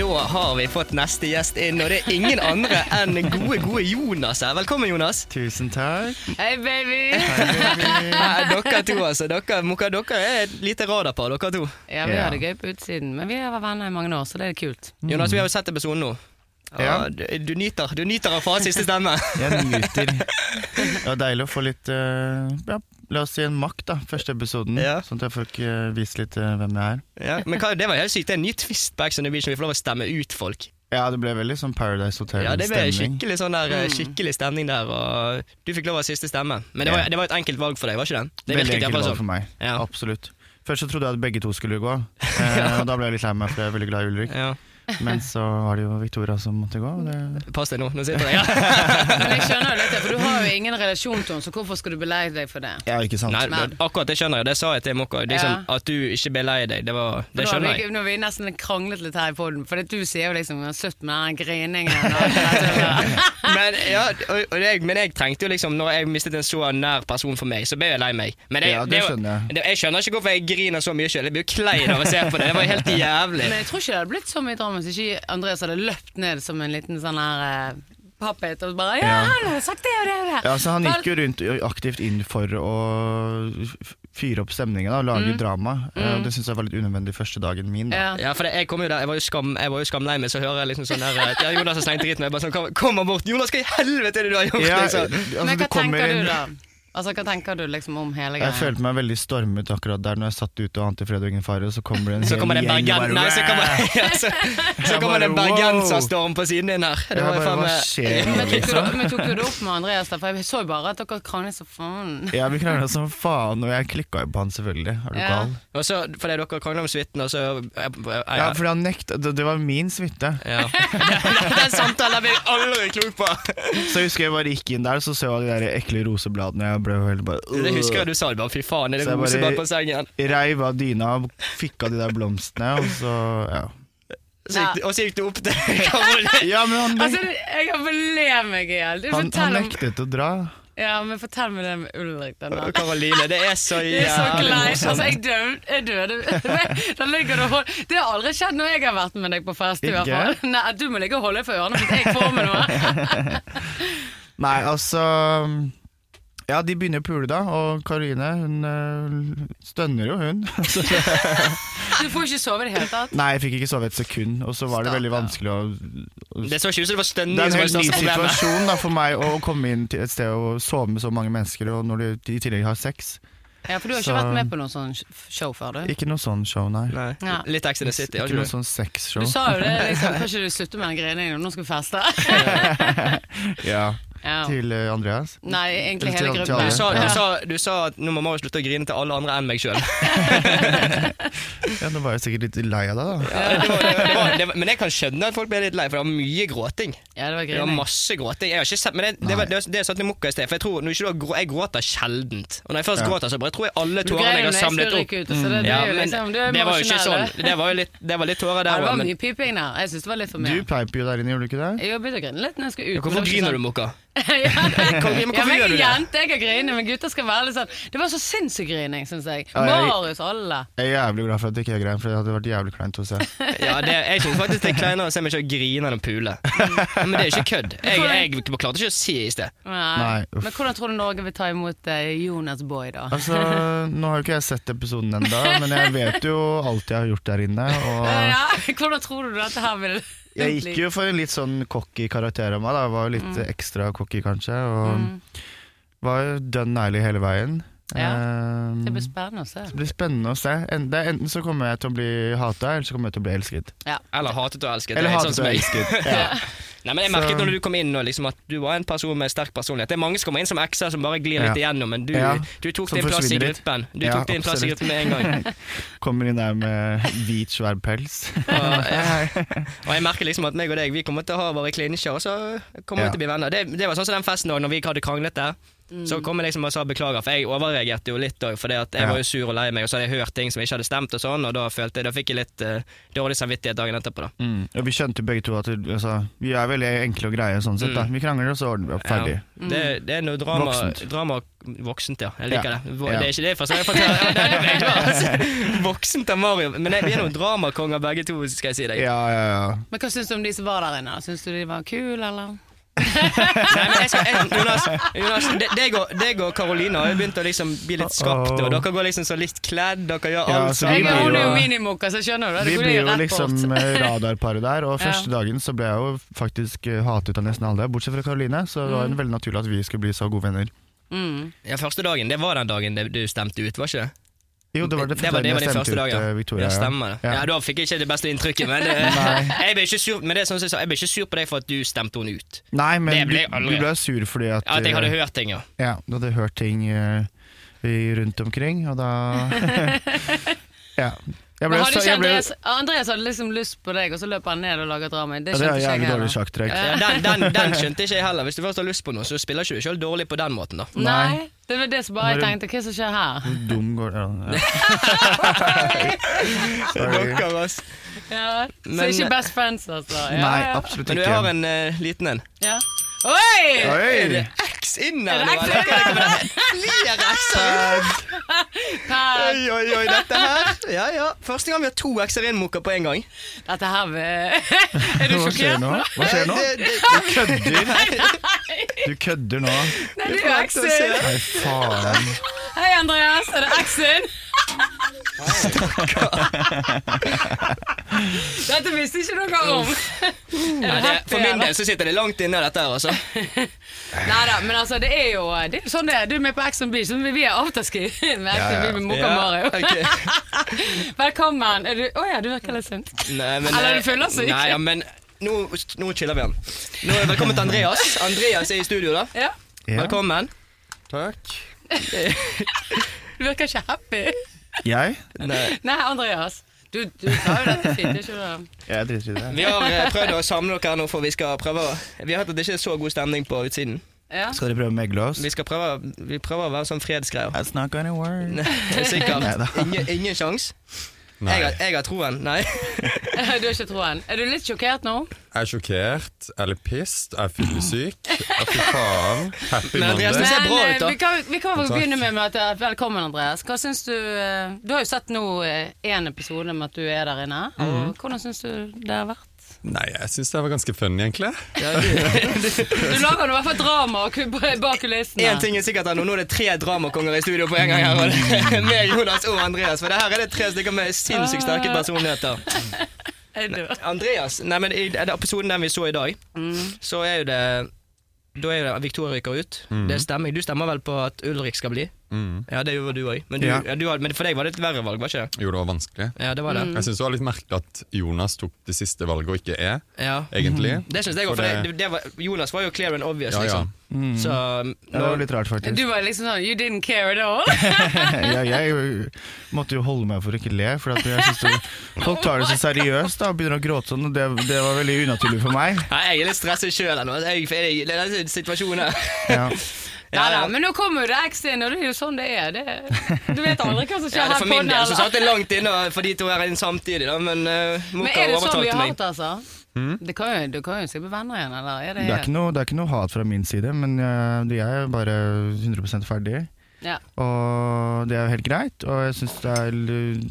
[SPEAKER 2] Da har vi fått neste gjest inn, og det er ingen andre enn gode, gode Jonas her. Velkommen, Jonas.
[SPEAKER 3] Tusen takk.
[SPEAKER 1] Hei, baby!
[SPEAKER 2] Nei, Dere to, altså. Dere, Mokka, dere er et lite radarpar, dere to.
[SPEAKER 1] Ja, vi
[SPEAKER 3] Ja.
[SPEAKER 1] har det gøy på utsiden, men vi har vært venner i mange år, så det er kult.
[SPEAKER 2] Jonas, vi har jo sett episoden nå.
[SPEAKER 3] Ja.
[SPEAKER 2] du, du nyter du nyter av fars siste stemme.
[SPEAKER 3] Jeg nyter. Det var deilig å få litt eh, ja, La oss si en makt, da, første episoden.
[SPEAKER 2] Ja.
[SPEAKER 3] Sånn at jeg får ikke vise litt eh, hvem jeg er.
[SPEAKER 2] Ja, men hva, det var helt sykt. Det er en ny twist på Ex on the Beach når vi får lov å stemme ut folk.
[SPEAKER 3] Ja, det ble veldig sånn Paradise
[SPEAKER 2] Ja, det ble
[SPEAKER 3] Hotel-stemning.
[SPEAKER 2] skikkelig, sånn der, skikkelig stemning der, og du fikk lov av siste stemme. Men det
[SPEAKER 3] Ja.
[SPEAKER 2] var, det var et enkelt valg for deg, var ikke det? det virket
[SPEAKER 3] veldig
[SPEAKER 2] i hvert fall
[SPEAKER 3] enkelt valg
[SPEAKER 2] sånn.
[SPEAKER 3] for meg.
[SPEAKER 2] Ja.
[SPEAKER 3] Absolutt. Først så trodde jeg at begge to skulle gå, eh, og da ble jeg litt lei meg, for jeg er veldig glad i Ulrik.
[SPEAKER 2] Ja.
[SPEAKER 3] Men så var det jo Victoria som måtte gå. og Det...
[SPEAKER 2] Pass deg nå, nå sitter jeg ja.
[SPEAKER 1] Men jeg skjønner jo litt det, for du har jo ingen relasjon til henne, så hvorfor skal du beleie deg for det?
[SPEAKER 3] Ja, ikke sant.
[SPEAKER 2] Nei,
[SPEAKER 1] Men-
[SPEAKER 2] akkurat det skjønner jeg, det sa jeg til Mokka. Liksom, At du ikke ble lei deg, det, var, det
[SPEAKER 1] Nå har
[SPEAKER 2] skjønner
[SPEAKER 1] vi,
[SPEAKER 2] jeg.
[SPEAKER 1] nå har vi nesten kranglet litt her i poden, for du sier jo liksom Slutt med den griningen. og alt det der.
[SPEAKER 2] Men, ja, og, og jeg, men jeg trengte jo liksom, når jeg mistet en så nær person for meg, så ble jeg lei meg. Men jeg,
[SPEAKER 3] Ja, det
[SPEAKER 2] er jo-
[SPEAKER 3] skjønner jeg.
[SPEAKER 2] Det, jeg skjønner ikke hvorfor jeg griner så mye sjøl. Jeg blir jo klein av å se på det. Det var helt jævlig.
[SPEAKER 1] Men jeg tror ikke det hadde blitt så mye drama hvis ikke Andreas hadde løpt ned som en liten sånn her eh, pappet og bare Ja,
[SPEAKER 3] Ja.
[SPEAKER 1] han har sagt det og det og det.
[SPEAKER 3] Ja, så Han
[SPEAKER 1] Vel-
[SPEAKER 3] gikk jo rundt aktivt inn for å f- fyre opp stemningen da, og lage drama. Eh, og Det syns jeg var litt unødvendig første dagen min.
[SPEAKER 1] Mm.
[SPEAKER 3] Da.
[SPEAKER 1] Ja.
[SPEAKER 2] Ja, for det, jeg kom jo der, jeg var jo, skam, jeg var jo skamlei meg, så hører jeg liksom sånn der eh, ja, Jonas har slengt dritt med meg. Bare sånn, kom- Kommer bort! 'Jonas, hva i helvete er det du har gjort?'
[SPEAKER 3] Ja,
[SPEAKER 2] liksom.
[SPEAKER 3] altså,
[SPEAKER 1] Men
[SPEAKER 3] det
[SPEAKER 1] hva
[SPEAKER 3] kommer
[SPEAKER 1] tenker
[SPEAKER 3] en-
[SPEAKER 1] du, da? Altså, Hva tenker du liksom om hele greia?
[SPEAKER 3] Jeg følte meg veldig stormet akkurat der når jeg satt ute og ante fred og ingen fare, og så kommer det en
[SPEAKER 2] Så
[SPEAKER 3] hel
[SPEAKER 2] kommer det en
[SPEAKER 3] gjeng og
[SPEAKER 2] bergen...
[SPEAKER 3] bare,
[SPEAKER 2] Nei, så kommer,
[SPEAKER 3] "Wæ!"
[SPEAKER 2] ja, så, så
[SPEAKER 3] Jeg
[SPEAKER 2] kommer det en
[SPEAKER 3] bare, wow.
[SPEAKER 2] bergenserstorm på siden din her. Det
[SPEAKER 3] Jeg
[SPEAKER 2] var jo
[SPEAKER 3] bare,
[SPEAKER 2] faen eh,
[SPEAKER 3] Hva
[SPEAKER 2] meg
[SPEAKER 3] skjer nå,
[SPEAKER 1] men tok, du,
[SPEAKER 3] liksom?
[SPEAKER 1] men tok du det opp med Andreas? da? For Jeg så jo bare at dere kranglet så faen.
[SPEAKER 3] Ja, vi krangla som faen, og jeg klikka jo på han selvfølgelig. Er du
[SPEAKER 1] Ja.
[SPEAKER 3] gal?
[SPEAKER 2] Og så, fordi dere krangler om suiten, og så ja,
[SPEAKER 3] Ja, fordi han nekta. Det det var min suite.
[SPEAKER 2] ja. Den samtalen blir jeg aldri klok på!
[SPEAKER 3] Så jeg husker jeg bare gikk inn der, så så jeg de der ekle rosebladene, og jeg ble jo helt bare
[SPEAKER 2] Det husker jeg du sa, det bare fy faen, er
[SPEAKER 3] Så
[SPEAKER 2] det
[SPEAKER 3] jeg bare-
[SPEAKER 2] rosebad på sengen?
[SPEAKER 3] Reiv av dyna og fikk av de der blomstene, og så Ja,
[SPEAKER 2] Så gikk, det- og så gikk du opp til Karoline.
[SPEAKER 3] ja men han,
[SPEAKER 1] Altså, Jeg kan få le meg i hjel. Du,
[SPEAKER 3] han, han
[SPEAKER 1] fortell om-
[SPEAKER 3] nektet å dra.
[SPEAKER 1] Ja, men Fortell meg det med Ulrik. den der.
[SPEAKER 2] Karoline, det er så
[SPEAKER 1] Det er så
[SPEAKER 2] jævlig
[SPEAKER 1] kleint. Altså,
[SPEAKER 2] morsomt.
[SPEAKER 1] jeg døde. Jeg døde. Da ligger du og hold- Det har aldri skjedd når jeg har vært med deg på fest. i
[SPEAKER 3] Ikke?
[SPEAKER 1] hvert fall. Nei, at Du må ligge og holde for ørene hvis jeg får med noe.
[SPEAKER 3] Nei, altså Ja, de begynner å pule da, og Karoline hun øh, stønner jo, hun. Så-
[SPEAKER 1] Du får ikke sove i det hele tatt.
[SPEAKER 3] Nei, jeg fikk ikke sove et sekund, og så var det veldig
[SPEAKER 1] Stakkar.
[SPEAKER 3] vanskelig å
[SPEAKER 2] Det så ikke ut som det var
[SPEAKER 3] Det
[SPEAKER 2] stønning
[SPEAKER 3] er en
[SPEAKER 2] som var det
[SPEAKER 3] helt ny
[SPEAKER 2] største problemet.
[SPEAKER 3] situasjon da, for meg å komme inn til et sted og sove med så mange mennesker, og når du i tillegg har sex.
[SPEAKER 1] Ja, For du har ikke
[SPEAKER 3] Så-
[SPEAKER 1] vært med på noe sånn show før, du?
[SPEAKER 3] Ikke noe sånn show, nei.
[SPEAKER 2] Nei.
[SPEAKER 1] Ja.
[SPEAKER 2] Litt Ex in the City. har
[SPEAKER 3] Ikke
[SPEAKER 2] ikke
[SPEAKER 3] noe
[SPEAKER 2] du?
[SPEAKER 3] sånn sexshow.
[SPEAKER 1] Du sa jo det, liksom. Kan ikke du slutte med den greiene dine, nå skal vi feste?
[SPEAKER 3] Ja,
[SPEAKER 1] Ja.
[SPEAKER 3] til eh, Andreas.
[SPEAKER 1] Nei, egentlig
[SPEAKER 3] Eller
[SPEAKER 1] hele
[SPEAKER 3] til- til
[SPEAKER 1] gruppen.
[SPEAKER 2] Du
[SPEAKER 3] alle.
[SPEAKER 2] sa,
[SPEAKER 1] Ja.
[SPEAKER 2] du, sa, du sa at nå må Marius slutte å grine til alle andre enn meg sjøl.
[SPEAKER 3] Ja, nå var jeg sikkert litt lei av deg, da.
[SPEAKER 2] Men jeg kan skjønne at folk blir litt lei, for det var mye gråting.
[SPEAKER 1] Ja, det var
[SPEAKER 2] Det var
[SPEAKER 1] grining.
[SPEAKER 2] masse gråting. Jeg har ikke sett, men det, det, var, det, var- det satt i mokka i sted. For jeg tror, når ikke du har grå, jeg gråter sjeldent. Og når jeg først
[SPEAKER 3] Ja.
[SPEAKER 2] gråter, så bare tror jeg alle
[SPEAKER 1] Du
[SPEAKER 2] tårene
[SPEAKER 1] greier
[SPEAKER 2] jeg
[SPEAKER 1] jo
[SPEAKER 2] har
[SPEAKER 1] når jeg
[SPEAKER 2] samlet
[SPEAKER 1] skal
[SPEAKER 2] opp
[SPEAKER 1] rykke ut, så det, det,
[SPEAKER 2] Ja,
[SPEAKER 1] er jo
[SPEAKER 2] men
[SPEAKER 1] liksom, du er
[SPEAKER 2] det var jo ikke
[SPEAKER 1] emosjonell.
[SPEAKER 2] sånn.
[SPEAKER 1] du.
[SPEAKER 2] Det var jo litt, det var litt tårer
[SPEAKER 1] Ja,
[SPEAKER 2] der
[SPEAKER 1] det var
[SPEAKER 2] òg. Men
[SPEAKER 1] mye piping der. Jeg syns det var litt for
[SPEAKER 3] Du
[SPEAKER 1] mye.
[SPEAKER 3] peip jo der inne, gjorde du ikke det?
[SPEAKER 1] Jeg har begynt å grine litt når jeg skal ut. men
[SPEAKER 2] hvorfor
[SPEAKER 1] det var ikke
[SPEAKER 2] griner
[SPEAKER 1] sånn-
[SPEAKER 2] du, Mokka?
[SPEAKER 1] ja.
[SPEAKER 2] Hvorfor
[SPEAKER 1] Ja, men
[SPEAKER 2] gjør
[SPEAKER 1] jeg er
[SPEAKER 2] du det?
[SPEAKER 1] jente, jeg kan grine, men gutter skal være litt sånn Det var så sinnssyk grining, syns jeg.
[SPEAKER 3] Ja, jeg-
[SPEAKER 1] Marius, alle.
[SPEAKER 3] Jeg er jævlig glad for at det ikke er greien, for det hadde vært jævlig kleint å se.
[SPEAKER 2] Ja, det, jeg syns faktisk det er kleinere å se meg selv grine enn å pule. Men det er ikke kødd. Jeg, jeg klarte ikke å si i sted.
[SPEAKER 1] Nei.
[SPEAKER 3] Nei, uff.
[SPEAKER 1] Men hvordan tror du Norge vil ta imot eh, Jonas Boy, da?
[SPEAKER 3] Altså, Nå har jo ikke jeg sett episoden ennå, men jeg vet jo alt jeg har gjort der inne. Og
[SPEAKER 1] Eh, Ja, hvordan tror du dette her vil
[SPEAKER 3] jeg gikk jo for en litt sånn cocky karakter av meg. da Jeg var jo litt
[SPEAKER 1] Mm.
[SPEAKER 3] eh, ekstra cocky, kanskje. Og var jo dønn ærlig hele veien. Eh,
[SPEAKER 1] Det blir spennende å se.
[SPEAKER 3] det blir spennende å se. En- det er Enten så kommer jeg til å bli hata, eller så kommer jeg til å bli elsket.
[SPEAKER 1] Ja.
[SPEAKER 2] Eller hatet og elsket.
[SPEAKER 3] Eller
[SPEAKER 2] Det er
[SPEAKER 3] hatet
[SPEAKER 2] sånn som
[SPEAKER 3] og
[SPEAKER 2] jeg-
[SPEAKER 3] elsket. Ja.
[SPEAKER 2] Nei, men jeg
[SPEAKER 3] Så-
[SPEAKER 2] merket når du kom inn nå, liksom, at du var en person med sterk personlighet. Det er mange som kommer inn som ekser som bare glir litt
[SPEAKER 3] Ja.
[SPEAKER 2] igjennom, men du,
[SPEAKER 3] Ja.
[SPEAKER 2] du tok
[SPEAKER 3] Som
[SPEAKER 2] din plass i
[SPEAKER 3] forsvinner litt.
[SPEAKER 2] gruppen. Du
[SPEAKER 3] Ja,
[SPEAKER 2] tok din plass i
[SPEAKER 3] absolutt.
[SPEAKER 2] gruppen med en gang.
[SPEAKER 3] Kommer inn der med hvit, svær pels.
[SPEAKER 2] Og, og jeg merker liksom at meg og deg, vi kommer til å ha våre klinsjer, og så kommer
[SPEAKER 3] Ja.
[SPEAKER 2] vi til å bli venner. Det, det var sånn som den festen òg, når vi hadde kranglet der. Så kom jeg liksom og sa beklager, for jeg overreagerte jo litt òg. For jeg
[SPEAKER 3] Ja.
[SPEAKER 2] var jo sur og lei meg, og så hadde jeg hørt ting som ikke hadde stemt, og sånn, og da, følte jeg, da fikk jeg litt eh, dårlig samvittighet dagen etterpå. da
[SPEAKER 3] Mm. Og vi skjønte begge to at det- altså, vi er veldig enkle og greie sånn sett. da Vi krangler, og så ordner vi opp. Ferdig.
[SPEAKER 2] Mm. Ja. Mm. Det, det er noe drama
[SPEAKER 3] Voksent.
[SPEAKER 2] Drama voksent, ja. Jeg liker
[SPEAKER 3] Ja.
[SPEAKER 2] det. Vo-
[SPEAKER 3] Ja.
[SPEAKER 2] Det er ikke det jeg forstår. Jeg forstår. Ja, det er det jeg gjør, altså. Voksent av Mario. Men jeg, vi er noen dramakonger begge to, skal jeg si deg.
[SPEAKER 3] Ja, ja, ja.
[SPEAKER 1] Men hva syns du om de som var der inne? Syns du de var kule, eller?
[SPEAKER 2] Nei, men jeg skal, jeg, Jonas, Jonas det- deg og- deg og Karoline har jo begynt å liksom bli litt skapte, og dere går liksom så litt kledd, dere gjør
[SPEAKER 3] Ja,
[SPEAKER 2] alt
[SPEAKER 3] så
[SPEAKER 2] som
[SPEAKER 3] vi
[SPEAKER 1] Jeg
[SPEAKER 3] blir
[SPEAKER 1] hun er jo
[SPEAKER 3] jo-
[SPEAKER 1] minimokka, så skjønner du det.
[SPEAKER 3] Vi
[SPEAKER 1] Det går
[SPEAKER 3] blir
[SPEAKER 1] jo
[SPEAKER 3] jo
[SPEAKER 1] rett
[SPEAKER 3] liksom
[SPEAKER 1] bort.
[SPEAKER 3] eh, radarparet der, og
[SPEAKER 1] Ja.
[SPEAKER 3] første dagen så ble jeg jo faktisk eh, hatet av nesten alle, bortsett fra Karoline, så det var
[SPEAKER 2] Mm.
[SPEAKER 3] jo veldig naturlig at vi skulle bli så gode venner.
[SPEAKER 1] Mm.
[SPEAKER 2] Ja, første dagen, det var den dagen det- du stemte ut, var ikke det?
[SPEAKER 3] Jo, det var det,
[SPEAKER 2] Det var- det var
[SPEAKER 3] jeg
[SPEAKER 2] din første
[SPEAKER 3] stemte ut
[SPEAKER 2] dag, ja.
[SPEAKER 3] eh, Victoria.
[SPEAKER 2] ja, stemmer det. Ja.
[SPEAKER 3] Ja.
[SPEAKER 2] da fikk jeg ikke det beste inntrykket, men, det, jeg, ble ikke sur, men det er sånn som jeg sa, jeg ble ikke sur på deg for at du stemte henne ut.
[SPEAKER 3] Nei,
[SPEAKER 2] Det
[SPEAKER 3] men
[SPEAKER 2] ble
[SPEAKER 3] du,
[SPEAKER 2] jeg aldri.
[SPEAKER 3] du ble sur fordi at,
[SPEAKER 2] Ja, At jeg hadde
[SPEAKER 3] eh,
[SPEAKER 2] hørt ting, ja.
[SPEAKER 3] ja, du hadde hørt ting eh, i- rundt omkring, og da Ja. Jeg
[SPEAKER 1] Men
[SPEAKER 3] ble,
[SPEAKER 1] hadde
[SPEAKER 3] så,
[SPEAKER 1] ikke
[SPEAKER 3] jeg ble,
[SPEAKER 1] Andreas, Andreas hadde liksom lyst på deg, og så løper han ned og lager drama. Det
[SPEAKER 3] ja, det
[SPEAKER 1] skjønte
[SPEAKER 3] er
[SPEAKER 1] ikke jeg
[SPEAKER 3] jævlig
[SPEAKER 1] heller.
[SPEAKER 3] dårlig sjakktrekk.
[SPEAKER 2] ja den, den, den skjønte ikke jeg heller. Hvis du først har lyst på noe, så spiller ikke du selv dårlig på den måten, da.
[SPEAKER 1] Nei, det var det som bare jeg
[SPEAKER 3] Når du-
[SPEAKER 1] tenkte. Hva som skjer her?
[SPEAKER 3] Hvor dum går ja, ja. Sorry.
[SPEAKER 2] Dere, ass.
[SPEAKER 1] Ja. så
[SPEAKER 2] Men-
[SPEAKER 1] ikke best friends, altså. Ja,
[SPEAKER 3] Nei,
[SPEAKER 1] ja.
[SPEAKER 3] absolutt
[SPEAKER 2] Men du
[SPEAKER 3] ikke.
[SPEAKER 2] har en eh, liten en.
[SPEAKER 1] Ja. Oi!
[SPEAKER 3] Oi!
[SPEAKER 2] X X inn her
[SPEAKER 1] Er det
[SPEAKER 2] nå?
[SPEAKER 1] X
[SPEAKER 2] eller? Flere X-er!
[SPEAKER 1] Hva-
[SPEAKER 2] Oi, oi, oi, dette her. Ja, ja. Første gang vi har to X-er inn, Moka, på en gang.
[SPEAKER 1] Dette her eh, Er du
[SPEAKER 3] Hva skjer
[SPEAKER 1] sjokkert?
[SPEAKER 3] nå? Hva skjer nå?
[SPEAKER 2] Det- det-
[SPEAKER 3] Du kødder. Du kødder nå.
[SPEAKER 1] Nei, det er jo
[SPEAKER 2] Jeg får vente og
[SPEAKER 1] X-en.
[SPEAKER 2] se.
[SPEAKER 3] Nei, faen.
[SPEAKER 1] Hei, Andreas. Er det X-en? Dette visste ikke dere om. Er
[SPEAKER 2] Nei,
[SPEAKER 1] det
[SPEAKER 2] det,
[SPEAKER 1] happy,
[SPEAKER 2] for min
[SPEAKER 1] eller?
[SPEAKER 2] del så sitter det langt inne, dette her, altså.
[SPEAKER 1] Neida, men altså, det er jo det er jo sånn det er. Du er med på Ex on Beach, så vi er afterski med Ex on Beach med Mokka Mario.
[SPEAKER 2] ok.
[SPEAKER 1] Velkommen. Er du Å ja, du virker litt sunt.
[SPEAKER 2] Nei, men,
[SPEAKER 1] Eller
[SPEAKER 2] eh,
[SPEAKER 1] du føler seg ikke.
[SPEAKER 2] Nei, ja, men nå, nå chiller vi han. Nå, velkommen til Andreas. Andreas er i studio, da.
[SPEAKER 1] Ja.
[SPEAKER 3] Ja.
[SPEAKER 2] Velkommen.
[SPEAKER 3] Takk.
[SPEAKER 1] Du virker ikke happy.
[SPEAKER 3] Jeg?
[SPEAKER 2] Nei.
[SPEAKER 1] Nei, Andreas. Du, du sa jo dette fint, det er ikke det?
[SPEAKER 3] Jeg driter i det.
[SPEAKER 2] Vi har eh, prøvd å samle dere her nå, for vi skal prøve å Vi har hørt at det ikke er så god stemning på utsiden.
[SPEAKER 1] Ja.
[SPEAKER 3] Skal dere prøve å megle oss?
[SPEAKER 2] Vi skal prøve Vi prøver å være sånn fredsgreier.
[SPEAKER 3] That's not gonna work. Neida.
[SPEAKER 2] Sikkert. Ingen, ingen sjans.
[SPEAKER 4] Nei.
[SPEAKER 2] Jeg, har- jeg har troen. Nei.
[SPEAKER 1] Du har ikke troen. Er du litt sjokkert nå?
[SPEAKER 4] Jeg er sjokkert, jeg er litt pissed, jeg er fyllesyk. Å, Fy faen. Happy
[SPEAKER 2] Men Andreas,
[SPEAKER 4] Monday.
[SPEAKER 2] det ser bra
[SPEAKER 1] eh,
[SPEAKER 2] ut, da.
[SPEAKER 1] vi kan, vi kan vel
[SPEAKER 4] Takk.
[SPEAKER 1] begynne med at eh, Velkommen, Andreas. Hva syns du eh, Du har jo sett nå én episode med at du er der inne.
[SPEAKER 2] Mhm.
[SPEAKER 1] Og hvordan syns du det har vært?
[SPEAKER 4] Nei, jeg syns det var ganske funny, egentlig.
[SPEAKER 1] Du lager nå i hvert fall drama og ku- bak kulissene.
[SPEAKER 2] Én ting er sikkert, Anno, nå er det tre dramakonger i studio på en gang her. og det- Med Jonas og Andreas. For det her er det tre stykker med sinnssykt sterke personligheter.
[SPEAKER 1] Er du-
[SPEAKER 2] Andreas, nei, men i den episoden den vi så i dag, så er jo det da er jo det at Victoria ryker ut. Det stemmer. Du stemmer vel på at Ulrik skal bli? Ja, det gjorde du òg. Men, du-
[SPEAKER 3] Ja.
[SPEAKER 2] ja, du hadde- men for deg var det et verre valg, var ikke det?
[SPEAKER 4] Jo, det var vanskelig.
[SPEAKER 2] Ja, det var det.
[SPEAKER 4] Jeg syns det var litt merkelig at Jonas tok det siste valget og ikke er,
[SPEAKER 2] Ja.
[SPEAKER 4] egentlig.
[SPEAKER 2] Mm. Det syns jeg òg,
[SPEAKER 4] For
[SPEAKER 2] for det, det,
[SPEAKER 4] det-
[SPEAKER 2] det var, Jonas var jo clear and obvious,
[SPEAKER 4] Ja, ja.
[SPEAKER 2] liksom. Så
[SPEAKER 3] Det var litt rart, faktisk.
[SPEAKER 1] Du var liksom sånn You didn't care at all.
[SPEAKER 3] ja, jeg måtte jo holde meg for å ikke le, for at jeg synes det- folk tar det så seriøst da, og begynner å gråte sånn, og det, det var veldig unaturlig for meg.
[SPEAKER 2] Nei, jeg er litt stresset sjøl ennå. Jeg, jeg, denne situasjonen her.
[SPEAKER 3] Ja.
[SPEAKER 2] Ja,
[SPEAKER 1] Neida,
[SPEAKER 2] ja.
[SPEAKER 1] men nå kommer jo det X inn, og det er jo sånn det er. Det, du vet aldri hva som skjer
[SPEAKER 2] Ja, det er
[SPEAKER 1] her
[SPEAKER 2] for
[SPEAKER 1] på
[SPEAKER 2] min del så
[SPEAKER 1] den.
[SPEAKER 2] satt jeg langt inne for de to her inn samtidig, da, men uh,
[SPEAKER 1] Men
[SPEAKER 2] Moka
[SPEAKER 1] er det sånn vi har
[SPEAKER 2] overtalte meg. Mhm.
[SPEAKER 1] hatt, altså? Det kan jo, du kan jo se på venner igjen, eller? Er det,
[SPEAKER 3] Det, er ikke noe, det er ikke noe hat fra min side, men eh, de er bare 100 ferdig.
[SPEAKER 1] ja.
[SPEAKER 3] Og det er jo helt greit, og jeg syns det er l-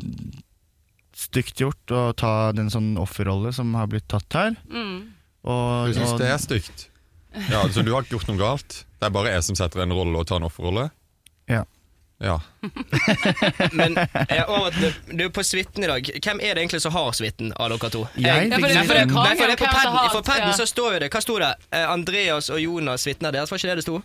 [SPEAKER 3] stygt gjort å ta den sånn offerrolle som har blitt tatt her.
[SPEAKER 1] Mm.
[SPEAKER 3] Og,
[SPEAKER 4] Du syns
[SPEAKER 3] og
[SPEAKER 4] det er stygt? Ja, altså, du har ikke gjort noe galt. Det er bare jeg som setter en rolle og tar en offerrolle.
[SPEAKER 3] Ja.
[SPEAKER 4] Ja.
[SPEAKER 2] Men jeg er over til- du er på suiten i dag. Hvem er det egentlig som har suiten av dere to?
[SPEAKER 3] Jeg
[SPEAKER 2] Jeg-
[SPEAKER 3] fikk
[SPEAKER 2] Nei, for det- for det-
[SPEAKER 3] suiten.
[SPEAKER 2] nei, for det
[SPEAKER 1] Hvem
[SPEAKER 2] på
[SPEAKER 1] som har
[SPEAKER 2] padden,
[SPEAKER 1] hatt,
[SPEAKER 2] for padden
[SPEAKER 1] ja.
[SPEAKER 2] så står jo det. Hva sto det? Eh, Andreas og Jonas suiten av deres, var ikke det det sto?